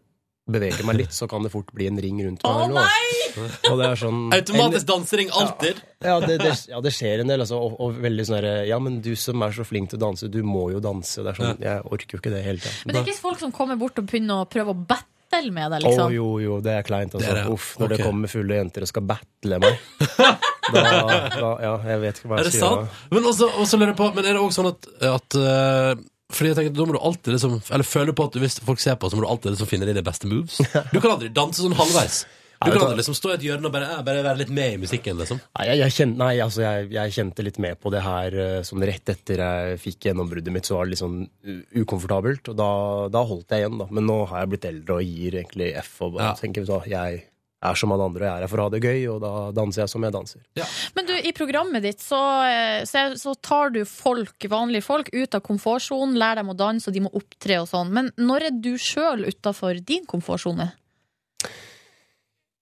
Speaker 6: beveger meg litt, så kan det fort bli en ring rundt meg. eller noe. Og det er sånn
Speaker 2: Automatisk dansering, alltid.
Speaker 6: ja det, det, ja, det skjer en del, altså. Og, og veldig sånn herre Ja, men du som er så flink til å danse, du må jo danse. Det er sånn, Jeg orker jo ikke det hele tida.
Speaker 3: Men det er ikke folk som kommer bort og begynner å prøve å battle med deg,
Speaker 6: Å
Speaker 3: liksom?
Speaker 6: jo, jo, det er kleint. Altså.
Speaker 2: Det er det, ja.
Speaker 6: Uff,
Speaker 2: Ok.
Speaker 6: når det kommer fulle jenter og skal battle meg. Da, da, ja, jeg vet ikke hva
Speaker 2: Er
Speaker 6: jeg
Speaker 2: det
Speaker 6: skal gjøre.
Speaker 2: sant? Men, også, også lurer jeg på, men er det også sånn at, at eh, Fordi jeg tenker at da må du alltid liksom Eller føler på at du, hvis folk ser på, så må du alltid liksom finne dine beste moves. Du kan aldri danse sånn halvveis. Du
Speaker 6: Nei,
Speaker 2: kan
Speaker 6: vet du-
Speaker 2: aldri liksom stå i et hjørne og bare, eh, bare være litt med i musikken, liksom.
Speaker 6: Nei, jeg, jeg, kjente, nei altså, jeg, jeg kjente litt med på det her eh, sånn rett etter jeg fikk gjennombruddet mitt. Så var det litt sånn u- ukomfortabelt, og da, da holdt jeg igjen. da. Men nå har jeg blitt eldre og gir egentlig F. og bare
Speaker 2: Ja.
Speaker 6: tenker så, jeg er som alle andre, og jeg er her for å ha det gøy, og da danser jeg som jeg danser.
Speaker 3: Men du, i programmet ditt så, eh, så, så tar du folk, vanlige folk ut av komfortsonen, lærer dem å danse, og de må opptre og sånn. Men når er du sjøl utafor din komfortsone?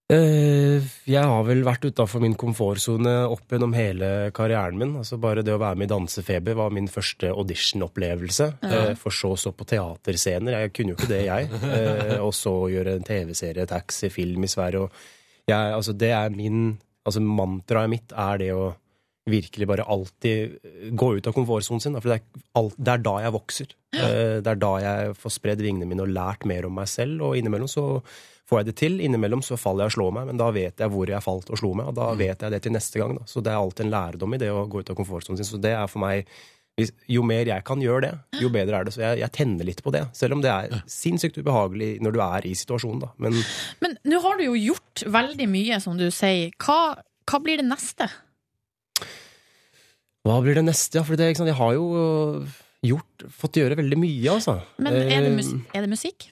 Speaker 6: Eh, Jeg har vel vært utafor min komfortsone opp gjennom hele karrieren min. Altså Bare det å være med i Dansefeber var min første auditionopplevelse. Eh, For så å stå på teaterscener. Jeg kunne jo ikke det, jeg. Eh, Og så gjøre en TV-serie, taxi, film i Sverige. Og jeg, altså det er min altså Mantraet mitt er det å virkelig bare alltid eh, gå ut av komfortsonen sin. da, For det er, alt, det er da jeg vokser. Eh, Det er da jeg får spredd vingene mine og lært mer om meg selv. Og innimellom så får jeg det til. Innimellom så faller jeg og slår meg, men da vet jeg hvor jeg falt Mm. og slo meg. Og da vet jeg det til neste gang. Da. Så det er alltid en lærdom i det å gå ut av komfortsonen sin. Så det er for meg hvis, jo mer jeg kan gjøre det, jo bedre er det. Så jeg, jeg tenner litt på det. Selv om det er sinnssykt ubehagelig når du er i situasjonen, da. Men
Speaker 3: Men nå har du jo gjort veldig mye, som du sier. Hva, hva blir det neste?
Speaker 6: hva blir det neste? Ja, for det, ikke sant? jeg har jo eh, gjort, fått gjøre veldig mye, altså.
Speaker 3: Men er det,
Speaker 6: Eh,
Speaker 3: mus er det musikk?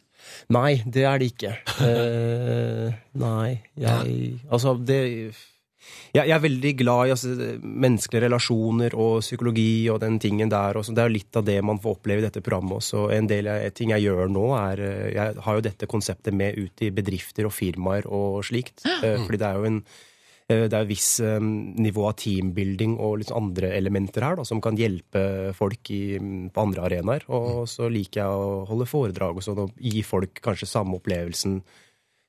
Speaker 6: Nei, det er det ikke. Eh, nei, jeg Altså, det jeg, jeg er veldig glad i altså, menneskelige relasjoner og psykologi og den tingen der. Og sånn. det er jo litt av det man får oppleve i dette programmet også. En del av ting jeg gjør nå, er eh, Jeg har jo dette konseptet med ut i bedrifter og firmaer og slikt. Eh, Fordi det er jo en eh, det er viss eh, nivå av teambuilding og litt sånn andre elementer her da, som kan hjelpe folk i, mm, på andre arenaer. Og så liker jeg å holde foredrag og sånn, og gi folk kanskje samme opplevelsen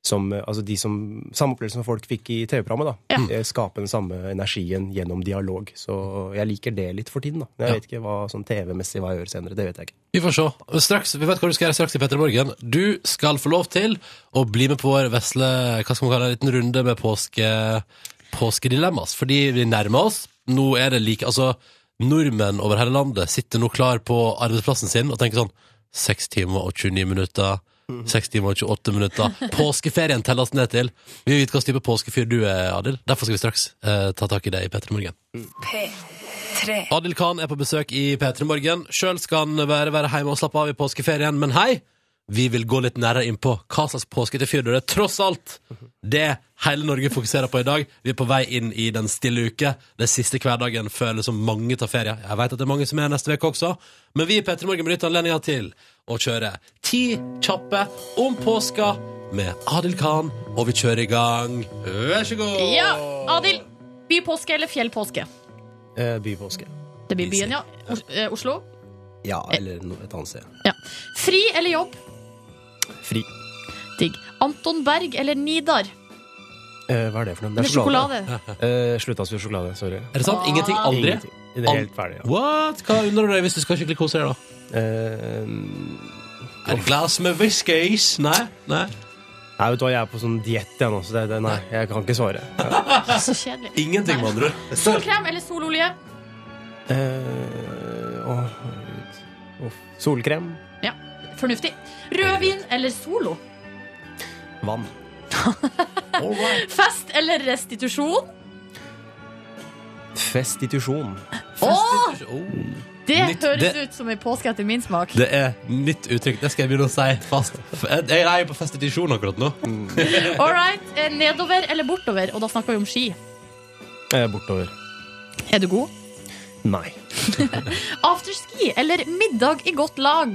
Speaker 6: som, eh, altså de som, samme opplevelsen som folk fikk i TV-programmet. da. Eh, Skape den samme energien gjennom dialog. Så jeg liker det litt for tiden. da. Jeg
Speaker 2: Ja.
Speaker 6: vet ikke hva sånn TV-messig hva jeg gjør senere. Det vet jeg ikke.
Speaker 2: Vi får se. Straks, vi vet hva du skal gjøre straks i Petter i Morgen. Du skal få lov til å bli med på vår vesle Hva skal man kalle det? En liten runde med påske, påskedilemmas. Fordi vi nærmer oss. Nå er det like Altså, nordmenn over hele landet sitter nå klar på arbeidsplassen sin og tenker sånn 6 timer og 29 minutter. 6 timer og 28 minutter. Påskeferien telles ned til. Vi vil vite hvilken type påskefyr du er, Adil. Derfor skal vi straks eh, ta tak i det i Petter i Morgen.
Speaker 1: P3.
Speaker 2: Adil Khan er på besøk i P3 Morgen. Sjøl skal han være, være hjemme og slappe av i påskeferien, men hei! Vi vil gå litt nærmere inn på hva slags påskete fyr du er. Tross alt det hele Norge fokuserer på i dag. Vi er på vei inn i den stille uke. Det er siste hverdagen før liksom mange tar ferie. Jeg vet at det er mange som er neste uke også, men vi i P3 Morgen benytter anledninga til å kjøre ti kjappe om påska med Adil Khan, og vi kjører i gang. Vær så god!
Speaker 3: Ja, Adil! Bypåske eller fjellpåske?
Speaker 6: Eh, Bypåske.
Speaker 3: Det blir byen, ja. Os- eh, Oslo.
Speaker 6: Ja, eller no- et annet sted.
Speaker 3: Ja. Fri eller jobb?
Speaker 6: Fri.
Speaker 3: Digg. Anton Berg eller Nidar?
Speaker 6: Eh, Hva er det for noe?
Speaker 3: Med sjokolade.
Speaker 6: Eh, Slutta med sjokolade. Sorry.
Speaker 2: Er det sant? Ingenting? Aldri?
Speaker 6: Ingenting. Det er helt ferdig. ja.
Speaker 2: What? Hva unner du deg hvis du skal skikkelig kose deg, da?
Speaker 6: Eh,
Speaker 2: Et glass med whiskys? Nei? Nei?
Speaker 6: Nei, vet du hva, jeg er på sånn diett jeg nå, så det, det, nei, jeg kan ikke svare.
Speaker 3: Så kjedelig.
Speaker 2: Ingenting, med andre ord.
Speaker 3: Solkrem eller sololje?
Speaker 6: Eh, å, herregud. Uff. Solkrem,
Speaker 3: Ja, fornuftig. Rødvin eller solo?
Speaker 6: vann.
Speaker 3: Fest eller restitusjon?
Speaker 6: Festisjon.
Speaker 2: Åh!
Speaker 3: Det
Speaker 2: Nytt-
Speaker 3: høres
Speaker 2: det-
Speaker 3: ut som en påske etter min smak.
Speaker 2: Det er nytt uttrykk. Det skal jeg begynne å si fast. Jeg jeg er jo på festitisjon akkurat nå.
Speaker 3: All right. eh, Nedover eller bortover? Og da snakker vi om ski.
Speaker 6: Eh, bortover.
Speaker 3: Er du god?
Speaker 6: Nei.
Speaker 3: Afterski eller middag i godt lag?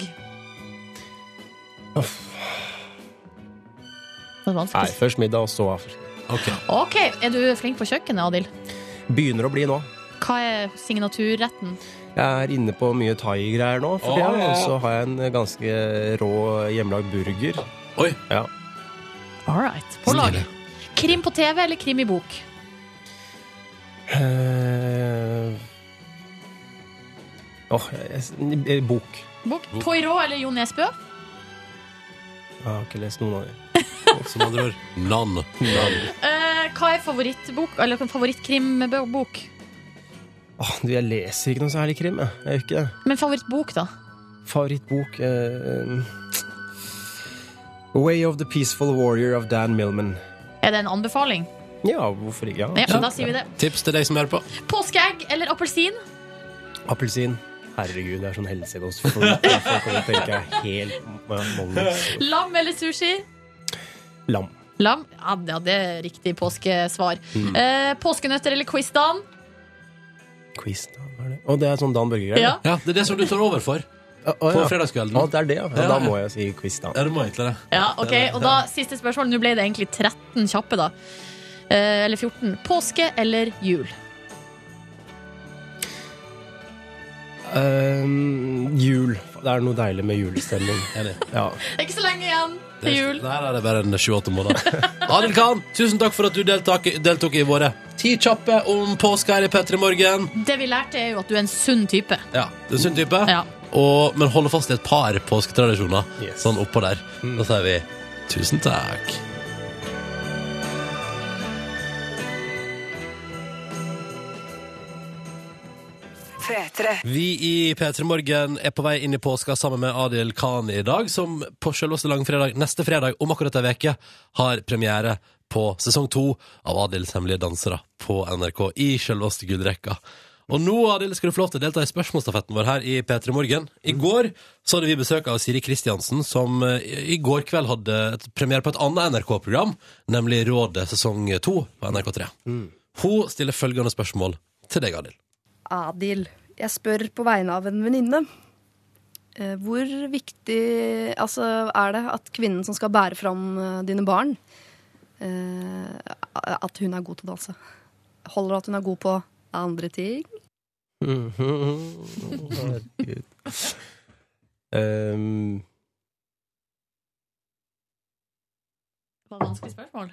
Speaker 3: Det er
Speaker 6: Nei,
Speaker 3: vanskelig.
Speaker 6: først middag, og så afterski.
Speaker 2: Ok.
Speaker 3: OK, er du flink på kjøkkenet, Adil?
Speaker 6: Begynner å bli nå.
Speaker 3: Hva er signaturretten?
Speaker 6: Jeg er inne på mye thai-greier nå,
Speaker 2: Å,
Speaker 6: for tiden,
Speaker 2: ja.
Speaker 6: og så har jeg en ganske rå hjemmelagd burger.
Speaker 2: Oi.
Speaker 6: Ja.
Speaker 3: All right. På lag. Krim på TV eller krim i bok?
Speaker 6: Eh, Åh, jeg- jeg- bok.
Speaker 3: Bok. Poirot eller Jo Nesbø?
Speaker 6: Jeg har ikke lest noen av dem.
Speaker 2: Som andre ord. Nan.
Speaker 3: Eh, hva er favorittbok, eller favorittkrimbok?
Speaker 6: Åh, du, jeg leser ikke noe særlig krim, jeg. Jeg gjør ikke det.
Speaker 3: Men favorittbok, da?
Speaker 6: Favorittbok eh, Way of the Peaceful Warrior av Dan Millman.
Speaker 3: Er det en anbefaling?
Speaker 6: Ja, hvorfor ikke? Ja.
Speaker 3: Ja, da sier vi det.
Speaker 2: Tips til deg som hører på.
Speaker 3: Påskeegg eller appelsin?
Speaker 6: Appelsin. Herregud, det er sånn helsegods for folk. Folk kommer til å tenke helt mange.
Speaker 3: Lam eller sushi?
Speaker 6: Lam.
Speaker 3: Lam? Ja, det- ja, det er riktig påskesvar.
Speaker 2: Mm.
Speaker 3: Eh, påskenøtter eller quiz-dan?
Speaker 6: Quiz, da? Hva er det? Å, det er sånn Dan Børge-greier?
Speaker 3: Ja.
Speaker 2: Ja, Det er det som du tar over for
Speaker 6: Å, å,
Speaker 2: på
Speaker 6: ja.
Speaker 2: fredagskvelden.
Speaker 6: Å, det er det, ja. ja.
Speaker 2: Ja.
Speaker 6: Da må jeg si quiz, da.
Speaker 2: Ja, du må egentlig det.
Speaker 3: ja, ok. Og da siste spørsmål. Nå ble det egentlig 13 kjappe, da. Eh, eller 14. Påske eller jul?
Speaker 6: Ehm, jul. Det er noe deilig med julestemning.
Speaker 2: Enig.
Speaker 6: Ja.
Speaker 3: Det er ikke så lenge igjen til
Speaker 2: Det er-
Speaker 3: jul.
Speaker 2: Der er det bare en sju-åtte måneder. Adil Khan, tusen takk for at du deltok, deltok i våre ti kjappe om påske her i P3 Morgen.
Speaker 3: Det vi lærte, er jo at du er en sunn type.
Speaker 2: Ja, du er en sunn type.
Speaker 3: Ja.
Speaker 2: Og, men holde fast i et par påsketradisjoner.
Speaker 6: Yes.
Speaker 2: Sånn oppå der. Da sier vi tusen takk.
Speaker 1: P3.
Speaker 2: Vi i P3 Morgen er på vei inn i påska sammen med Adil Khan i dag, som på selveste langfredag neste fredag om akkurat ei uke har premiere på sesong to av Adils hemmelige dansere på NRK i selveste gullrekka. Og nå Adil, skal du få lov til å delta i spørsmålsstafetten vår her i P3 Morgen. I går så hadde vi besøk av Siri Kristiansen, som eh, i går kveld hadde et premiere på et annet NRK-program, nemlig Rådet sesong to på NRK3. Hun stiller følgende spørsmål til deg, Adil.
Speaker 7: Adil, jeg spør på vegne av en venninne. Eh, Hvor viktig altså, er det at kvinnen som skal bære fram eh, dine barn, eh, at hun er god til å danse? Holder det at hun er god på andre ting?
Speaker 6: Herregud. Ehm,
Speaker 3: Det var et vanskelig spørsmål.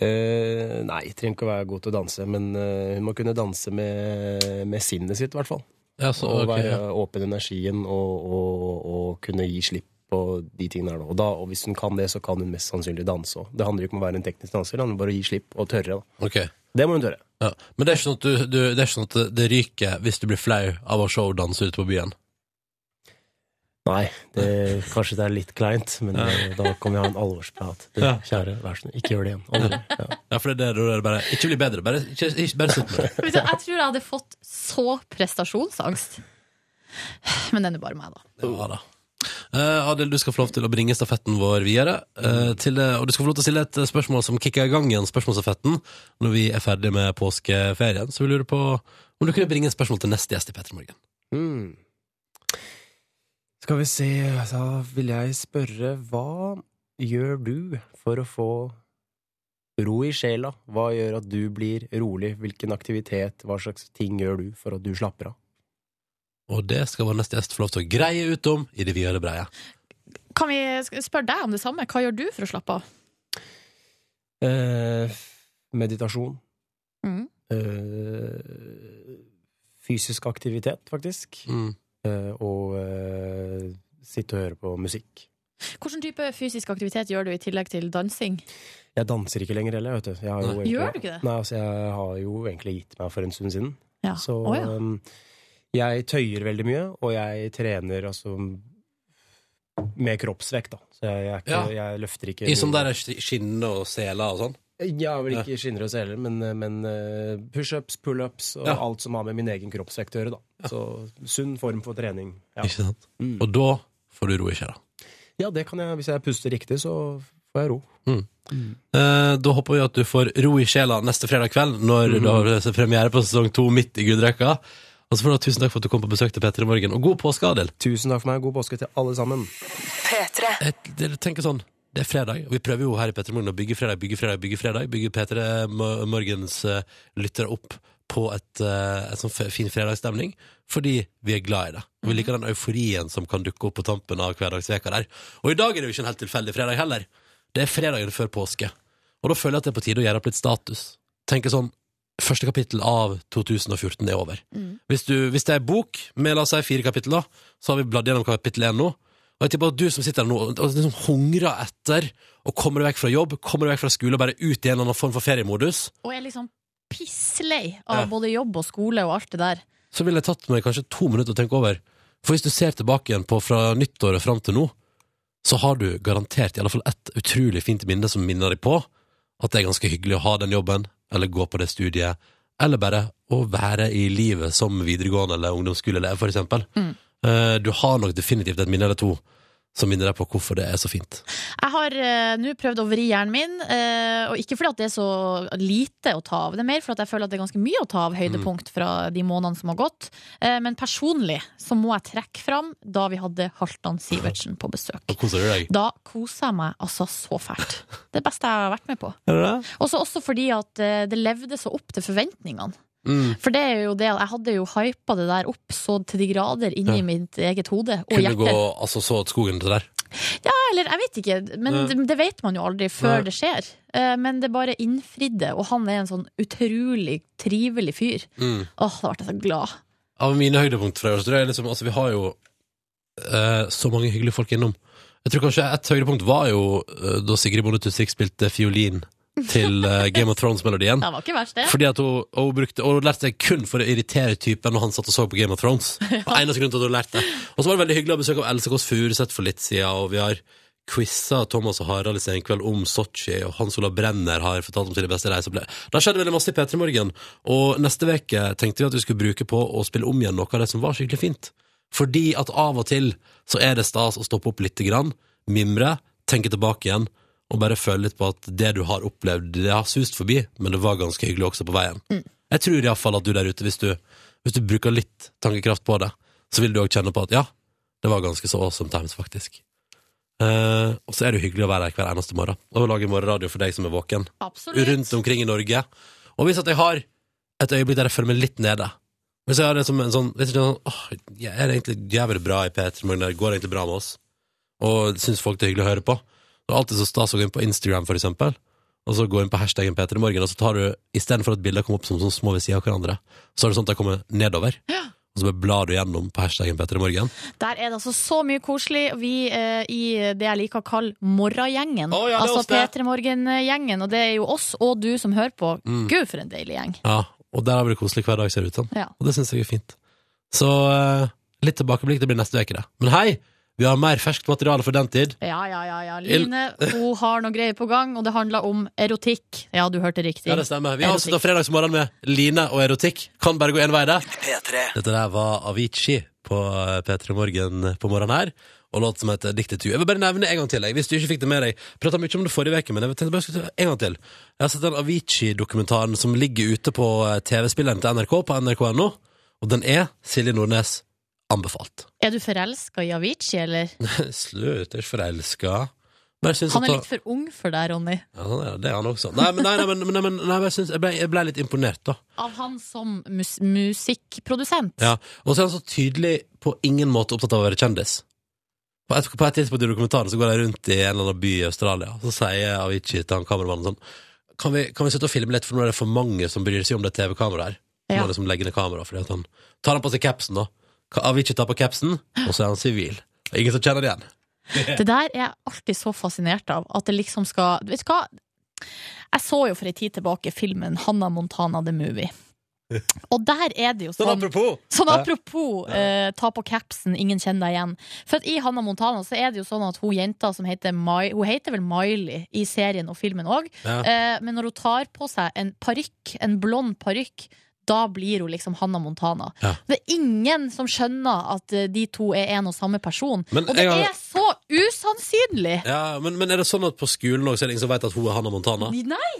Speaker 6: eh, nei, trenger ikke å være god til å danse, men eh, hun må kunne danse med, med sinnet sitt, i hvert fall.
Speaker 2: Ja, så,
Speaker 6: Og
Speaker 2: ok, ja.
Speaker 6: være åpen i energien og, og, og kunne gi slipp på de tingene her nå. Og, da, og hvis hun kan det, så kan hun mest sannsynlig danse òg. Det handler jo ikke om å være en teknisk danser, det handler bare om å gi slipp og tørre. Da.
Speaker 2: Ok.
Speaker 6: Det må hun tørre.
Speaker 2: Ja. Men det er, ikke sånn at du, du, det er ikke sånn at det ryker hvis du blir flau av å se henne danse ute på byen.
Speaker 6: Nei, det, kanskje det er litt kleint, men eh, da kan vi ha en alvorsprat. Du,
Speaker 2: Ja.
Speaker 6: kjære, vær så snill, ikke gjør det igjen. Aldri. Ja.
Speaker 2: Ja, for det er det da er det bare Ikke bli bedre, bare, ikke, ikke, bare slutt med det.
Speaker 3: Vet du, Jeg tror jeg hadde fått så prestasjonsangst. Men den er bare meg, da.
Speaker 2: Ja, da. Eh, Adil, du skal få lov til å bringe stafetten vår videre. eh, til, eh, og du skal få lov til å stille et eh, spørsmål som kicker i gang igjen spørsmålsstafetten når vi er ferdig med påskeferien. Så vi lurer på om du kunne bringe et spørsmål til neste gjest i Petter Morgen.
Speaker 6: Mm. Skal vi se, da vil jeg spørre Hva gjør du for å få ro i sjela? Hva gjør at du blir rolig? Hvilken aktivitet, hva slags ting gjør du for at du slapper av?
Speaker 2: Og det skal vår neste gjest få lov til å greie ut om i det videre breie.
Speaker 3: Kan vi sk- spørre deg om det samme? Hva gjør du for å slappe av?
Speaker 6: Eh, meditasjon.
Speaker 3: Mm.
Speaker 6: Eh, fysisk aktivitet, faktisk.
Speaker 2: Mm.
Speaker 6: Eh, og eh, sitte og høre på musikk.
Speaker 3: Hvilken type fysisk aktivitet gjør du i tillegg til dansing?
Speaker 6: Jeg danser ikke lenger heller, vet du. Jeg har jo egentlig-
Speaker 3: Gjør du ikke det?
Speaker 6: Nei, altså jeg har jo egentlig gitt meg for en stund siden.
Speaker 3: Ja.
Speaker 6: Så
Speaker 3: Å, ja.
Speaker 6: um, jeg tøyer veldig mye, og jeg trener altså med kroppsvekt, da. Så jeg, jeg, er ikke, jeg løfter ikke
Speaker 2: I sånn der skinne og sele og sånn.
Speaker 6: Jeg har vel ikke skinner og seler, men, men uh, pushups, pullups og
Speaker 2: Ja.
Speaker 6: alt som har med min egen kroppsvekt å gjøre, da. Så sunn form for trening. Ja.
Speaker 2: Ikke sant?
Speaker 6: Mm.
Speaker 2: Og da får du ro i sjela.
Speaker 6: ja, det kan jeg. Hvis jeg puster riktig, så får jeg ro.
Speaker 2: Eh, Da håper vi at du får ro i sjela neste fredag kveld, når du har premiere på sesong to midt i Gudrekka. Og så får du ha tusen takk for at du kom på besøk til Petter i morgen, og god påske, Adil.
Speaker 6: Tusen takk for meg, god påske til alle sammen.
Speaker 1: P3.
Speaker 2: Jeg jeg tenker sånn, det er fredag, og vi prøver jo her i Petter i morgen å bygge fredag, bygge fredag, bygge fredag. Bygge Petter Morgens eh, lyttere opp på et, eh, et sånn fe- fin fredagsstemning, fordi vi er glad i det. Og vi liker den euforien som kan dukke opp på tampen av hverdagsveka der. Og i dag er det jo ikke en helt tilfeldig fredag heller. Det er fredagen før påske. Og da føler jeg at det er på tide å gjøre opp litt status. Tenke sånn Første kapittel av 2014 er over.
Speaker 3: Mm.
Speaker 2: Hvis, du, hvis det er en bok med la oss si fire kapittel, da, så har vi bladd gjennom kapittel én nå. Og jeg tipper at du som sitter der nå og og liksom hungrer etter og kommer deg vekk fra jobb, kommer deg vekk fra skole og bare ut i en eller annen form for feriemodus,
Speaker 3: Og er liksom pisslei
Speaker 2: Ja.
Speaker 3: av både jobb og skole og alt det der.
Speaker 2: så ville jeg tatt meg kanskje to minutter å tenke over. For hvis du ser tilbake igjen på fra nyttår og fram til nå, så har du garantert i alle fall ett utrolig fint minne som minner deg på at det er ganske hyggelig å ha den jobben, eller gå på det studiet, eller bare å være i livet som videregående eller ungdomsskoleelev, for eksempel.
Speaker 3: Mm.
Speaker 2: Eh, Du har nok definitivt et minne eller to som minner deg på hvorfor det er så fint.
Speaker 3: Jeg har eh, nå prøvd å vri hjernen min, eh, og ikke fordi at det er så lite å ta av. Det er mer fordi at jeg føler at det er ganske mye å ta
Speaker 2: Mm.
Speaker 3: av høydepunkt fra de månedene som har gått. Eh, men personlig så må jeg trekke fram da vi hadde Halvdan Sivertsen på besøk.
Speaker 2: Og koser du deg?
Speaker 3: Da koser jeg meg altså så fælt. Det beste jeg har vært med på.
Speaker 2: Er det det?
Speaker 3: Også, også fordi at eh, det levde så opp til forventningene.
Speaker 2: Mm.
Speaker 3: For det er jo det, jeg hadde jo hypa det der opp så til de grader inni
Speaker 2: Ja.
Speaker 3: mitt eget hode og
Speaker 2: Kunne
Speaker 3: hjerte.
Speaker 2: gå altså, så at skogen til der.
Speaker 3: Eller, jeg vet ikke, men
Speaker 2: Nei.
Speaker 3: det, det vet man jo aldri før
Speaker 2: Nei.
Speaker 3: det skjer. Eh, Men det bare innfridde, og han er en sånn utrolig trivelig fyr. Åh, da ble jeg så glad.
Speaker 2: Av mine høydepunkt fra i år, så tror jeg liksom, altså, vi har jo eh, så mange hyggelige folk innom. Jeg tror kanskje et høydepunkt var jo eh, da Sigrid Bonde Tusvik spilte fiolin til eh, Game of Thrones-melodien.
Speaker 3: Det var ikke verst, det.
Speaker 2: Fordi at hun, og hun, brukte, og hun lærte seg kun for å irritere typen når han satt og så på Game of Thrones. Det var eneste grunn til at hun lærte det. Og så var det veldig hyggelig å besøke av Else Kåss Furuseth for litt siden, og vi har quiza Thomas og Harald i Senkveld om Sotsji, og Hans Olav Brenner har fortalt om sine beste reiseopplevelser. Da skjedde veldig masse i P3 Morgen, og neste uke tenkte vi at vi skulle bruke på å spille om igjen noe av det som var skikkelig fint. Fordi at av og til så er det stas å stoppe opp lite grann, mimre, tenke tilbake igjen, og bare føle litt på at det du har opplevd, det har sust forbi, men det var ganske hyggelig også på veien. Jeg tror iallfall at du der ute, hvis du, hvis du bruker litt tankekraft på det, så vil du òg kjenne på at ja, det var ganske så awesome times, faktisk. Eh, og så er det jo hyggelig å være her hver eneste morgen og lage morgenradio for deg som er våken
Speaker 3: Absolutt.
Speaker 2: rundt omkring i Norge. Og hvis at jeg har et øyeblikk der jeg føler meg litt nede Hvis jeg har det som en sånn, hvis jeg er sånn åh, jeg Er det egentlig jævlig bra i P3 Morgen? Går det egentlig bra med oss? Og syns folk det er hyggelig å høre på? Det er alltid så stas å gå inn på Instagram, for eksempel. Og så gå inn på hashtaggen P3 Morgen, og så tar du istedenfor at bilder kommer opp som sånn små ved siden av hverandre, så er det sånn at de kommer nedover. Og så bare blar du gjennom på hashtaggen P3 Morgen.
Speaker 3: Der er det altså så mye koselig. Vi eh, i det jeg liker å kalle morragjengen.
Speaker 2: Å, ja, det er
Speaker 3: altså
Speaker 2: oss, det.
Speaker 3: P3 Morgen-gjengen. Og det er jo oss og du som hører på.
Speaker 2: Mm.
Speaker 3: Gud, for en deilig gjeng.
Speaker 2: Ja, og der har vi det koselig hver dag, ser det ut som.
Speaker 3: Ja.
Speaker 2: Og det syns jeg er fint. Så eh, litt tilbakeblikk, det blir neste uke, det. Men hei, vi har mer ferskt materiale for den tid.
Speaker 3: Ja, ja, ja. ja. Line hun har noe greier på gang, og det handler om erotikk. Ja, du hørte riktig.
Speaker 2: Ja, det stemmer. Vi
Speaker 3: Erotikk.
Speaker 2: avslutta fredagsmorgen med Line og erotikk. Kan bare gå én vei, det. Dette der var Avicii på eh, P3 Morgen på morgenen her. Og låt som heter Diktet tu. Jeg vil bare nevne en gang til. Jeg, hvis du ikke fikk det med deg. Prata mye om det forrige uke, men jeg tenkte bare jeg skulle ta en gang til. Jeg har sett den Avicii-dokumentaren som ligger ute på eh, TV-spilleren til NRK på nrk.no, og den er Silje Nordnes anbefalt.
Speaker 3: Er du forelska i Avicii, eller?
Speaker 2: Slutt, jeg er ikke forelska. Bare syns
Speaker 3: Han
Speaker 2: at
Speaker 3: er
Speaker 2: da-
Speaker 3: litt for ung for deg, Ronny.
Speaker 2: ja, sånn er det. det er han også. Nei, men, nei, nei, men, nei, men nei, men jeg, syns- jeg, ble, jeg ble litt imponert, da.
Speaker 3: Av han som mus musikkprodusent.
Speaker 2: Ja. Og så er han så tydelig på ingen måte opptatt av å være kjendis. På et, på et tidspunkt i dokumentaren så går de rundt i en eller annen by i Australia, og så sier Avicii til han kameramannen sånn kan vi, kan vi slutte å filme litt, for nå er det for mange som bryr seg om det TV-kameraet her. Ja.
Speaker 3: Ja.
Speaker 2: Må liksom legge ned kameraet, fordi at han tar han på seg capsen, da. Ka- Avicii tar på capsen, og så er han sivil. Det er Ingen som kjenner det igjen.
Speaker 3: Det der er jeg alltid så fascinert av. At det liksom skal Vet du hva? Jeg så jo for ei tid tilbake filmen 'Hanna Montana the Movie'. Og der er det jo
Speaker 2: Sånn
Speaker 3: sånn
Speaker 2: apropos!
Speaker 3: Sånn apropos eh, ta på capsen, ingen kjenner deg igjen. For at i Hanna Montana så er det jo sånn at hun jenta som heter Mai, Hun heter vel Miley i serien og filmen òg,
Speaker 2: Ja.
Speaker 3: eh, men når hun tar på seg en parykk, en blond parykk, da blir hun liksom Hanna Montana.
Speaker 2: Ja.
Speaker 3: Det er ingen som skjønner at eh, de to er en og samme person.
Speaker 2: Men
Speaker 3: og det
Speaker 2: jeg har-
Speaker 3: er så usannsynlig!
Speaker 2: Ja, men, men er det sånn at på skolen også er det ingen som vet at hun er Hannah Montana?
Speaker 3: Nei,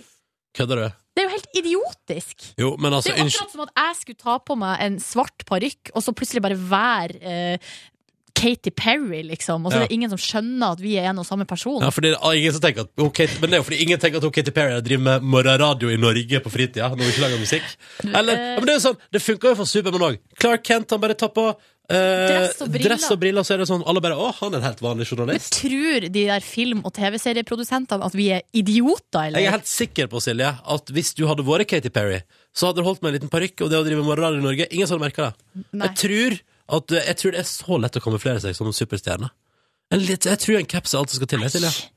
Speaker 2: Kødder du?
Speaker 3: det er jo helt idiotisk!
Speaker 2: Jo, men
Speaker 3: Det
Speaker 2: altså,
Speaker 3: er jo
Speaker 2: unnskyld.
Speaker 3: akkurat som at jeg skulle ta på meg en svart parykk, og så plutselig bare være eh, Katy Perry, liksom. Og så
Speaker 2: Ja.
Speaker 3: er det ingen som skjønner at vi er en og samme person.
Speaker 2: Ja, fordi det er ingen som tenker at hun Kate, Men det er jo fordi ingen tenker at hun Katy Perry driver med morgenradio i Norge på fritida. Når hun ikke lager musikk.
Speaker 3: eh,
Speaker 2: Eller, ja, men det er jo sånn, det funker jo for Supermann òg. Clark Kent han bare tar på eh,
Speaker 3: Dress og briller.
Speaker 2: dress og briller, så er det sånn alle bare Å, han er en helt vanlig
Speaker 3: Men
Speaker 2: journalist.
Speaker 3: tror de der film- og TV-serieprodusentene at vi er idioter, eller?
Speaker 2: Jeg er helt sikker på, Silje, at hvis du hadde vært Katy Perry, så hadde du holdt med en liten parykk og det å drive med morgenradio i Norge. Ingen som hadde merka det.
Speaker 3: Nei.
Speaker 2: Jeg tror, at, eh, jeg tror det er så lett å kamuflere seg som en superstjerne. En litt, jeg tror en caps er alt som skal til. jeg, Silje.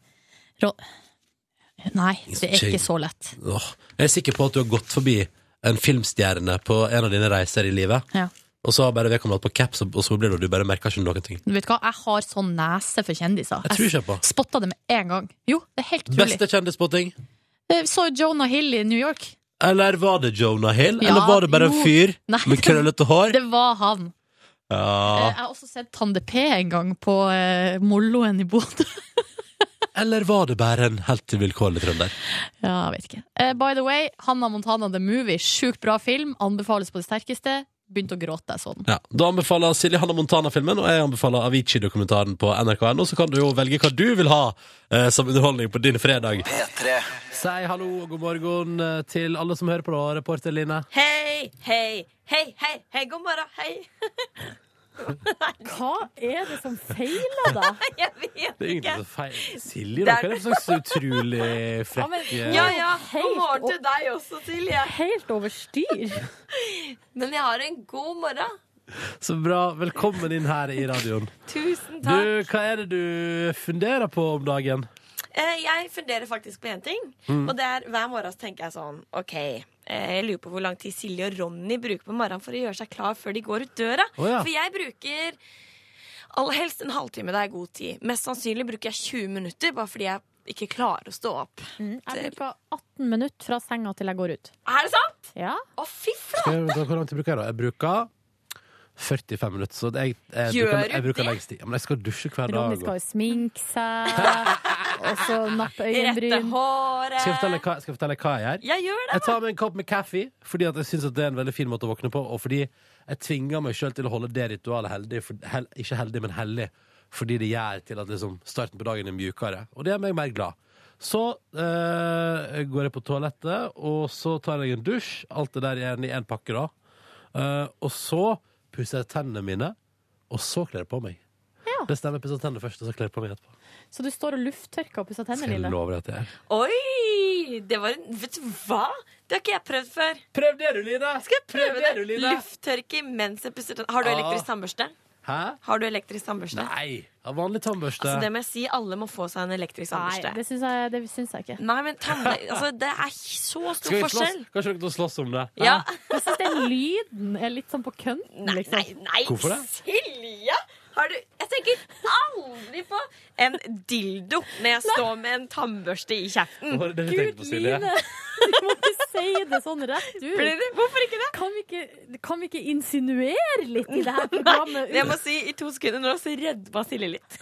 Speaker 3: Nei, det er ikke så lett.
Speaker 2: Åh, jeg er sikker på at du har gått forbi en filmstjerne på en av dine reiser i livet,
Speaker 3: Ja.
Speaker 2: og så har bare vedkommende hatt på caps, og og så blir det, og du bare merker ikke noen ting.
Speaker 3: Du vet hva, jeg har sånn nese for kjendiser.
Speaker 2: Jeg tror ikke på.
Speaker 3: spotta det med en gang. Jo, det er helt utrolig.
Speaker 2: Beste kjendisspotting?
Speaker 3: Jeg Så Jonah Hill i New York.
Speaker 2: Eller var det Jonah Hill?
Speaker 3: Ja,
Speaker 2: Eller var det bare en
Speaker 3: jo.
Speaker 2: fyr
Speaker 3: Nei,
Speaker 2: med krøllete hår?
Speaker 3: Det var han. Eh,
Speaker 2: Ja.
Speaker 3: Jeg har også sett Tande P en gang på eh, Molloen i Bodø.
Speaker 2: Eller var det bare en helt uvilkårlig trønder?
Speaker 3: Ja, jeg vet ikke. Eh, by the way, Hanna Montana The Movie. Sjukt bra film. Anbefales på det sterkeste. Begynte å gråte jeg så den.
Speaker 2: Ja. Da anbefaler Silje Hanna Montana-filmen, og jeg anbefaler Avicii-dokumentaren på NRK.no. Så kan du jo velge hva du vil ha eh, som underholdning på din fredag. Si hallo og god morgen eh, til alle som hører på, da, reporter Line.
Speaker 4: Hei, hei, hei, hei, hei, god morgen, hei.
Speaker 3: Hva er det som feiler deg?
Speaker 4: Jeg vet
Speaker 2: Det er
Speaker 4: ikke.
Speaker 2: ingen som feil. Silje,
Speaker 4: Det
Speaker 2: dere
Speaker 4: er-
Speaker 2: er for slags utrolig eh, frekke
Speaker 4: Ja, ja, god morgen til deg også, Silje.
Speaker 3: Eh, Helt over styr.
Speaker 4: Men jeg har en god morgen.
Speaker 2: Så bra. Velkommen inn her i radioen.
Speaker 4: Tusen
Speaker 2: Du,
Speaker 4: takk.
Speaker 2: hva er det du funderer på om dagen?
Speaker 8: Eh, Jeg funderer faktisk på én ting.
Speaker 2: Mm.
Speaker 8: Og det er hver morgen så tenker jeg sånn OK, eh, jeg lurer på hvor lang tid Silje og Ronny bruker på morgenen for å gjøre seg klar før de går ut døra.
Speaker 2: Å, ja.
Speaker 8: For jeg bruker aller helst en halvtime. Det er god tid. Mest sannsynlig bruker jeg 20 minutter, bare fordi jeg ikke klarer å stå opp.
Speaker 3: Jeg bruker 18 minutter fra senga til jeg går ut.
Speaker 8: Er det sant?
Speaker 3: Ja.
Speaker 8: Å, fy flate!
Speaker 2: Skal jeg- da, Hvor lang tid bruker jeg da? Jeg bruker 45 minutter. Så det- jeg, jeg,
Speaker 8: Gjør
Speaker 2: bruker, jeg
Speaker 8: du
Speaker 2: bruker
Speaker 8: det?
Speaker 2: lengst tid. Ja, Men jeg skal dusje hver dag.
Speaker 3: Ronny
Speaker 2: og-
Speaker 3: skal jo sminke seg, og så nappe
Speaker 8: Rette
Speaker 3: øyenbryn.
Speaker 8: håret.
Speaker 2: Skal jeg fortelle hva, skal jeg, fortelle hva jeg gjør?
Speaker 8: Jeg gjør det.
Speaker 2: Jeg tar meg en kopp med kaffe fordi at jeg syns det er en veldig fin måte å våkne på. Og fordi jeg tvinger meg sjøl til å holde det ritualet heldig. For, hel, ikke heldig, men hellig. Fordi det gjør til at liksom, starten på dagen er mjukere. Og det gjør meg mer glad. Så eh, går jeg på toalettet, og så tar jeg en dusj. Alt det der igjen i én pakke, da. Eh, og så pusser jeg tennene mine, og så kler jeg på meg.
Speaker 3: Ja.
Speaker 2: Det stemmer. Jeg pusser tennene først, og så kler jeg på meg etterpå.
Speaker 3: Så du står og lufttørker og pusser
Speaker 2: Skal
Speaker 3: tennene
Speaker 2: jeg
Speaker 3: dine.
Speaker 2: love deg at jeg er
Speaker 8: Oi! Det var en Vet du hva? Det har ikke jeg prøvd før.
Speaker 2: Prøv det, du, Line!
Speaker 8: Skal jeg prøve
Speaker 2: Prøv
Speaker 8: det?
Speaker 2: det, du, Line.
Speaker 8: Lufttørke mens jeg pusser tenn- Har du
Speaker 2: Ja.
Speaker 8: elektrisk tannbørste?
Speaker 2: Hæ?
Speaker 8: Har du elektrisk tannbørste?
Speaker 2: Nei! Jeg har vanlig tannbørste.
Speaker 8: Altså, det må jeg si, alle må få seg en elektrisk
Speaker 3: Nei,
Speaker 8: tannbørste.
Speaker 3: det syns jeg, det syns jeg ikke.
Speaker 8: Nei, men tann... altså, det er så stor
Speaker 2: Skal vi slåss?
Speaker 8: forskjell.
Speaker 2: Kanskje dere to slåss om det?
Speaker 8: Ja.
Speaker 3: Jeg syns den lyden er litt sånn på kønten,
Speaker 8: Nei,
Speaker 3: liksom.
Speaker 8: nei, nei.
Speaker 2: Hvorfor det?
Speaker 8: Silja! Har du Jeg tenker aldri på en dildo når jeg står med en tannbørste i kjeften.
Speaker 2: Var det det vi tenkte
Speaker 3: Gud,
Speaker 2: på, Silje?
Speaker 3: Line! Du må ikke si det sånn rett
Speaker 8: Blir
Speaker 3: ut.
Speaker 8: det- Hvorfor ikke det?
Speaker 3: Kan vi ikke, kan vi ikke insinuere litt i det her programmet?
Speaker 8: Jeg må si i to sekunder nå, så rødma Silje litt.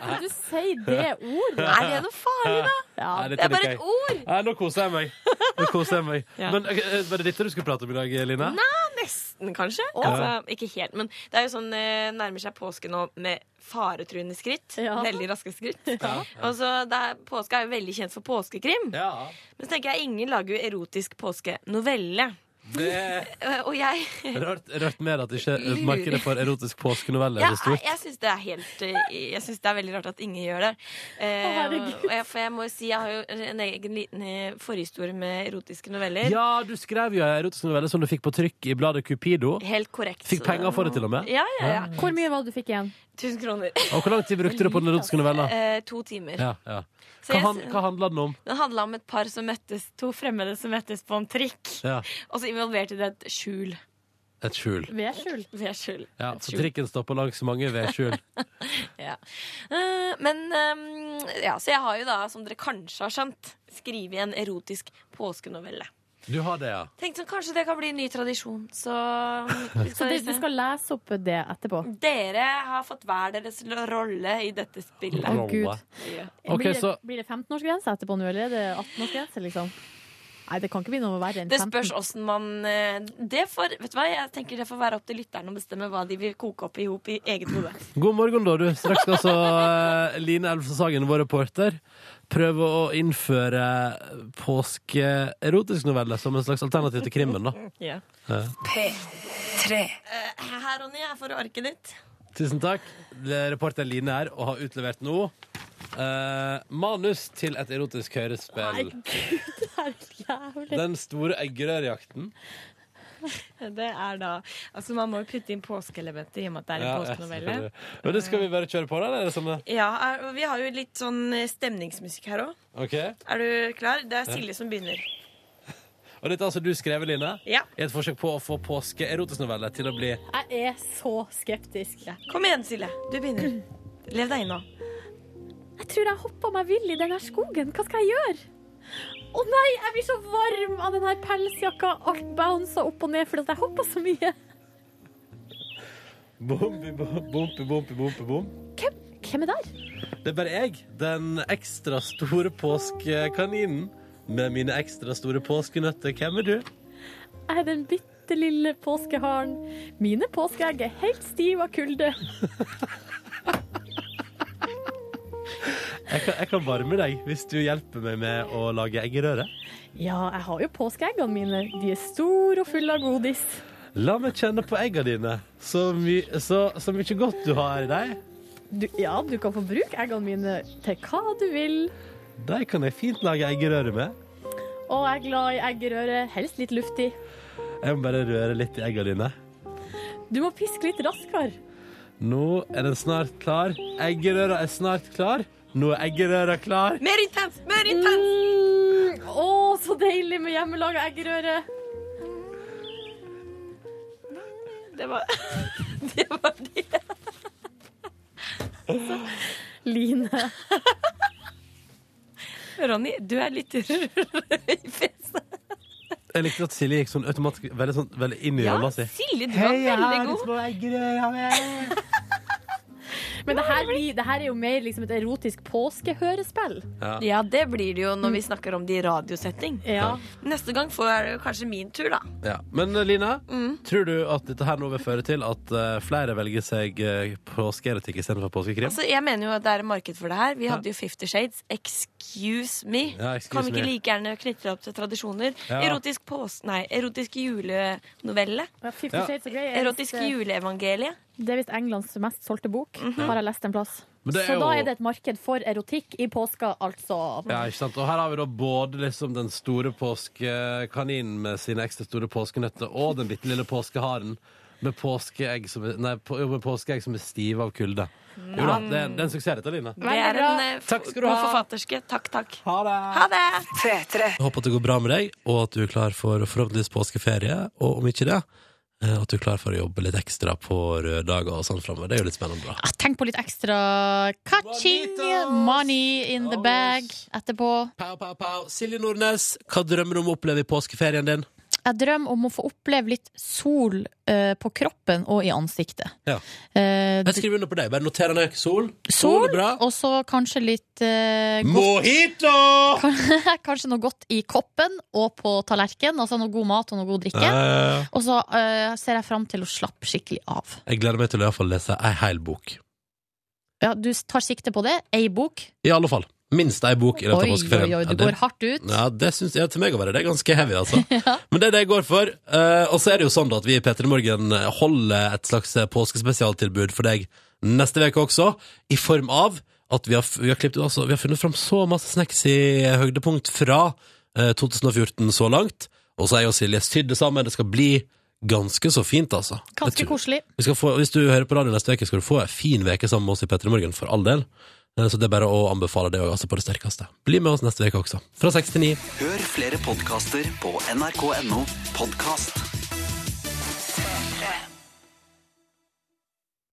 Speaker 3: Kan du si det ordet?
Speaker 8: Er det noe farlig, da?
Speaker 3: Ja.
Speaker 2: Nei, dette
Speaker 8: Det er bare
Speaker 2: liker jeg.
Speaker 8: et ord.
Speaker 2: Nei, nå koser jeg meg. Nå koser jeg meg.
Speaker 8: Ja.
Speaker 2: Men ok, eh, Var det dette du skulle prate om i dag, Line?
Speaker 8: Nesten, kanskje. Altså, ikke helt, men det er jo sånn eh, nærmer seg påske nå med faretruende skritt.
Speaker 3: Ja.
Speaker 8: Veldig raske skritt. Og så det er, Påske er jo veldig kjent for påskekrim.
Speaker 2: Ja.
Speaker 8: Men så tenker jeg ingen lager jo erotisk påskenovelle.
Speaker 2: Det er
Speaker 8: Eh, Og jeg
Speaker 2: rørt, rørt med at ikke
Speaker 8: Lurer.
Speaker 2: markedet for erotisk påskenoveller
Speaker 8: Ja,
Speaker 2: er så stort.
Speaker 8: jeg syns det er helt eh, Jeg synes det er veldig rart at ingen gjør det. Eh,
Speaker 3: Å, herregud.
Speaker 8: og jeg, for jeg må jo si, jeg har jo en egen liten eh, forhistorie med erotiske noveller.
Speaker 2: Ja, du skrev jo en erotisk novelle som du fikk på trykk i bladet Cupido.
Speaker 8: Helt korrekt.
Speaker 2: Fikk penger for det, til og med.
Speaker 8: Ja, ja, ja.
Speaker 3: Hvor mye var det du fikk igjen?
Speaker 8: Tusen kroner.
Speaker 2: Og hvor lang tid brukte du på den erotiske novella?
Speaker 8: Eh, to timer.
Speaker 2: Ja, ja.
Speaker 8: Så
Speaker 2: Hva,
Speaker 8: jeg-
Speaker 2: han, hva handla den om?
Speaker 8: Den handla om et par som møttes, to fremmede som møttes på en trikk.
Speaker 2: Ja.
Speaker 8: Og så involverte det et skjul.
Speaker 2: Et skjul.
Speaker 3: Vedskjul?
Speaker 8: Vedskjul.
Speaker 2: Ja,
Speaker 8: Et
Speaker 2: for
Speaker 8: skjul.
Speaker 2: trikken stopper langs mange vedskjul.
Speaker 8: Ja. Eh, Men eh, ja, så jeg har jo da, som dere kanskje har skjønt, skrevet en erotisk påskenovelle.
Speaker 2: Du har det, ja?
Speaker 8: Tenkte sånn, kanskje det kan bli en ny tradisjon, så vi
Speaker 3: Så
Speaker 8: skal,
Speaker 3: det, du skal lese opp det etterpå?
Speaker 8: Dere har fått hver deres rolle i dette
Speaker 3: Å,
Speaker 8: spillet.
Speaker 3: gud.
Speaker 2: Ok,
Speaker 3: Blir det,
Speaker 2: så-
Speaker 3: blir det 15-årsgrense etterpå nå, eller er det 18-årsgrense, liksom? Nei, det kan ikke bli noe verre enn
Speaker 8: Det spørs
Speaker 3: 15.
Speaker 8: åssen man eh, Det får, vet du hva, jeg tenker det får være opp til lytterne å bestemme hva de vil koke opp i hop i eget hode.
Speaker 2: God morgen, da, du. Straks skal altså eh, Line Elvstad Sagen, vår reporter, prøve å innføre påskeerotisk novelle som en slags alternativ til krimmen, da.
Speaker 9: P3
Speaker 8: Her, Ronny, jeg får arket ditt.
Speaker 2: Tusen takk. Det- Reporter Line her, og har utlevert nå eh, manus til et erotisk hørespill.
Speaker 3: Det er jævlig.
Speaker 2: Den store eggerørjakten.
Speaker 8: Eh, Det er da Altså, man må jo putte inn påskeelementet i og med at det
Speaker 2: Ja, jeg ser det. Men det skal vi bare kjøre på, da? Eller er det sånn det?
Speaker 8: Ja, er, og vi har jo litt sånn eh, stemningsmusikk her òg.
Speaker 2: OK.
Speaker 8: Er du klar? Det er Silje som begynner.
Speaker 2: Og dette har altså du skrevet, Line?
Speaker 8: Ja.
Speaker 2: I et forsøk på å få påskeerotisk novelle til å bli
Speaker 3: Jeg er så skeptisk.
Speaker 8: Kom igjen, Silje. Du begynner. Lev deg inn nå.
Speaker 3: Jeg tror jeg hoppa meg vill i den her skogen. Hva skal jeg gjøre? Å nei, jeg blir så varm av den her pelsjakka. Alt bouncer opp og ned fordi at jeg hoppa så mye.
Speaker 2: bompi, bompi, bompi, bompi, bom.
Speaker 3: Hvem, hvem er der?
Speaker 2: Det er bare jeg, den ekstra store påskekaninen. Med mine ekstra store påskenøtter. Hvem er du?
Speaker 3: Jeg er den bitte lille påskeharen. Mine påskeegg er helt stive av kulde.
Speaker 2: Jeg kan, jeg kan varme deg hvis du hjelper meg med å lage eggerøre.
Speaker 3: Ja, jeg har jo påskeeggene mine. De er store og fulle av godis.
Speaker 2: La meg kjenne på egga dine. Så, my, så, så mye godt du har i deg.
Speaker 3: Du, ja, du kan få bruke eggene mine til hva du vil.
Speaker 2: De kan jeg fint lage eggerøre med.
Speaker 3: Og jeg er glad i eggerøre, helst litt luftig.
Speaker 2: Jeg må bare røre litt i egga dine.
Speaker 3: Du må piske litt raskere.
Speaker 2: Nå er den snart klar. Eggerøra er snart klar.
Speaker 10: Nå er eggerøra klar.
Speaker 8: Mer intens! Mer intens!
Speaker 5: Mm, Å, så deilig med hjemmelaga eggerøre.
Speaker 8: Det var Det var det.
Speaker 3: Line.
Speaker 8: Ronny, du er litt rød i fjeset.
Speaker 10: Jeg likte at Silje gikk sånn automatisk veldig, sånn, veldig inn i
Speaker 8: Ja,
Speaker 10: rolla si.
Speaker 8: Silje, du var veldig god.
Speaker 3: Men det her, blir, det her er jo mer liksom et erotisk påskehørespill.
Speaker 8: Ja, det blir det jo når vi snakker om det i radiosetting.
Speaker 3: Ja.
Speaker 8: Mm. Neste gang får jeg det jo kanskje min tur, da.
Speaker 10: Ja. Men eh, Line,
Speaker 8: Mm.
Speaker 10: tror du at dette her nå vil føre til at eh, flere velger seg uh, påskeerotikk istedenfor påskekrim?
Speaker 8: Altså, jeg mener jo at det er et marked for det her. Vi hadde jo Fifty Shades. Excuse me.
Speaker 10: Ja, excuse
Speaker 8: kan vi ikke
Speaker 10: me.
Speaker 8: like gjerne knytte det opp til tradisjoner?
Speaker 10: Ja.
Speaker 8: Erotisk pås... Nei, erotisk julenovelle.
Speaker 3: Fifty
Speaker 10: Ja.
Speaker 3: Shades of Grey er
Speaker 8: Erotisk
Speaker 3: visst, eh,
Speaker 8: juleevangelie.
Speaker 3: Det er visst Englands mest solgte bok,
Speaker 8: Mhm.
Speaker 3: har jeg lest en plass.
Speaker 10: Men det er
Speaker 3: Så
Speaker 10: jo-
Speaker 3: da er det et marked for erotikk i påska, altså.
Speaker 10: Ja, ikke sant? Og her har vi da både liksom den store påskekaninen med sine ekstra store påskenøtter og den bitte lille påskeharen med påskeegg som er, nei, på, jo, med påskeegg som er stive av kulde. Jo da, det, er- det er en suksess, dette, Line.
Speaker 8: Det er en eh,
Speaker 10: Takk
Speaker 8: f-
Speaker 10: skal du
Speaker 8: god
Speaker 10: ha.
Speaker 8: forfatterske. Takk, takk. Ha det. Ha det.
Speaker 1: P3.
Speaker 2: Jeg håper at det går bra med deg, og at du er klar for forhåpentligvis påskeferie. Og om ikke det, eh, at du er klar for å jobbe litt ekstra på røde dager og sånn framover. Det er jo litt spennende, da.
Speaker 3: Ja, Ah, Tenk på litt ekstra catching
Speaker 2: Bonitos!
Speaker 3: money in
Speaker 2: Oh,
Speaker 3: the bag
Speaker 2: yes.
Speaker 3: etterpå.
Speaker 2: Pow, pow, pow. Silje Nordnes, hva drømmer du om å oppleve i påskeferien din?
Speaker 3: Jeg drømmer om å få oppleve litt sol eh, på kroppen og i ansiktet.
Speaker 2: Ja.
Speaker 3: Eh,
Speaker 2: Jeg skriver under på deg. Bare noter ned sol.
Speaker 3: sol,
Speaker 2: er bra.
Speaker 3: og så kanskje litt eh, godt,
Speaker 2: Mojito!
Speaker 3: Kanskje noe godt i koppen og på tallerken. Altså noe god mat og noe god drikke.
Speaker 2: Eh,
Speaker 3: Og så eh, ser jeg fram til å slappe skikkelig av.
Speaker 2: Jeg gleder meg til å i hvert fall lese ei hel bok.
Speaker 3: Ja, du tar sikte på det. Ei bok.
Speaker 2: I alle fall. Minst ei bok i løpet av
Speaker 3: Oi, oi,
Speaker 2: påskeferien.
Speaker 3: oi,
Speaker 2: Ja,
Speaker 3: du
Speaker 2: det-
Speaker 3: går hardt ut.
Speaker 2: Ja, det syns jeg til meg å være. Det er ganske heavy, altså. Men det er det jeg går for. Eh, og så er det jo sånn da at vi i P3 Morgen holder et slags eh, påskespesialtilbud for deg neste uke også, i form av at vi har, f- vi har, klippt, altså, vi har funnet fram så masse snacks i høydepunkt fra eh, 2014 så langt. Og så er jeg og Silje sydd det sammen. Det skal bli ganske så fint, altså.
Speaker 3: Ganske
Speaker 2: Jeg tror-
Speaker 3: koselig.
Speaker 2: vi skal få, hvis du hører på radio neste uke, skal du få en fin veke sammen med oss i Petter i Morgen, for all del. Eh, Så det er bare å anbefale det også, altså på det sterkeste. Bli med oss neste uke også, fra 6 til 9.
Speaker 11: Hør flere podkaster på nrk.no podkast.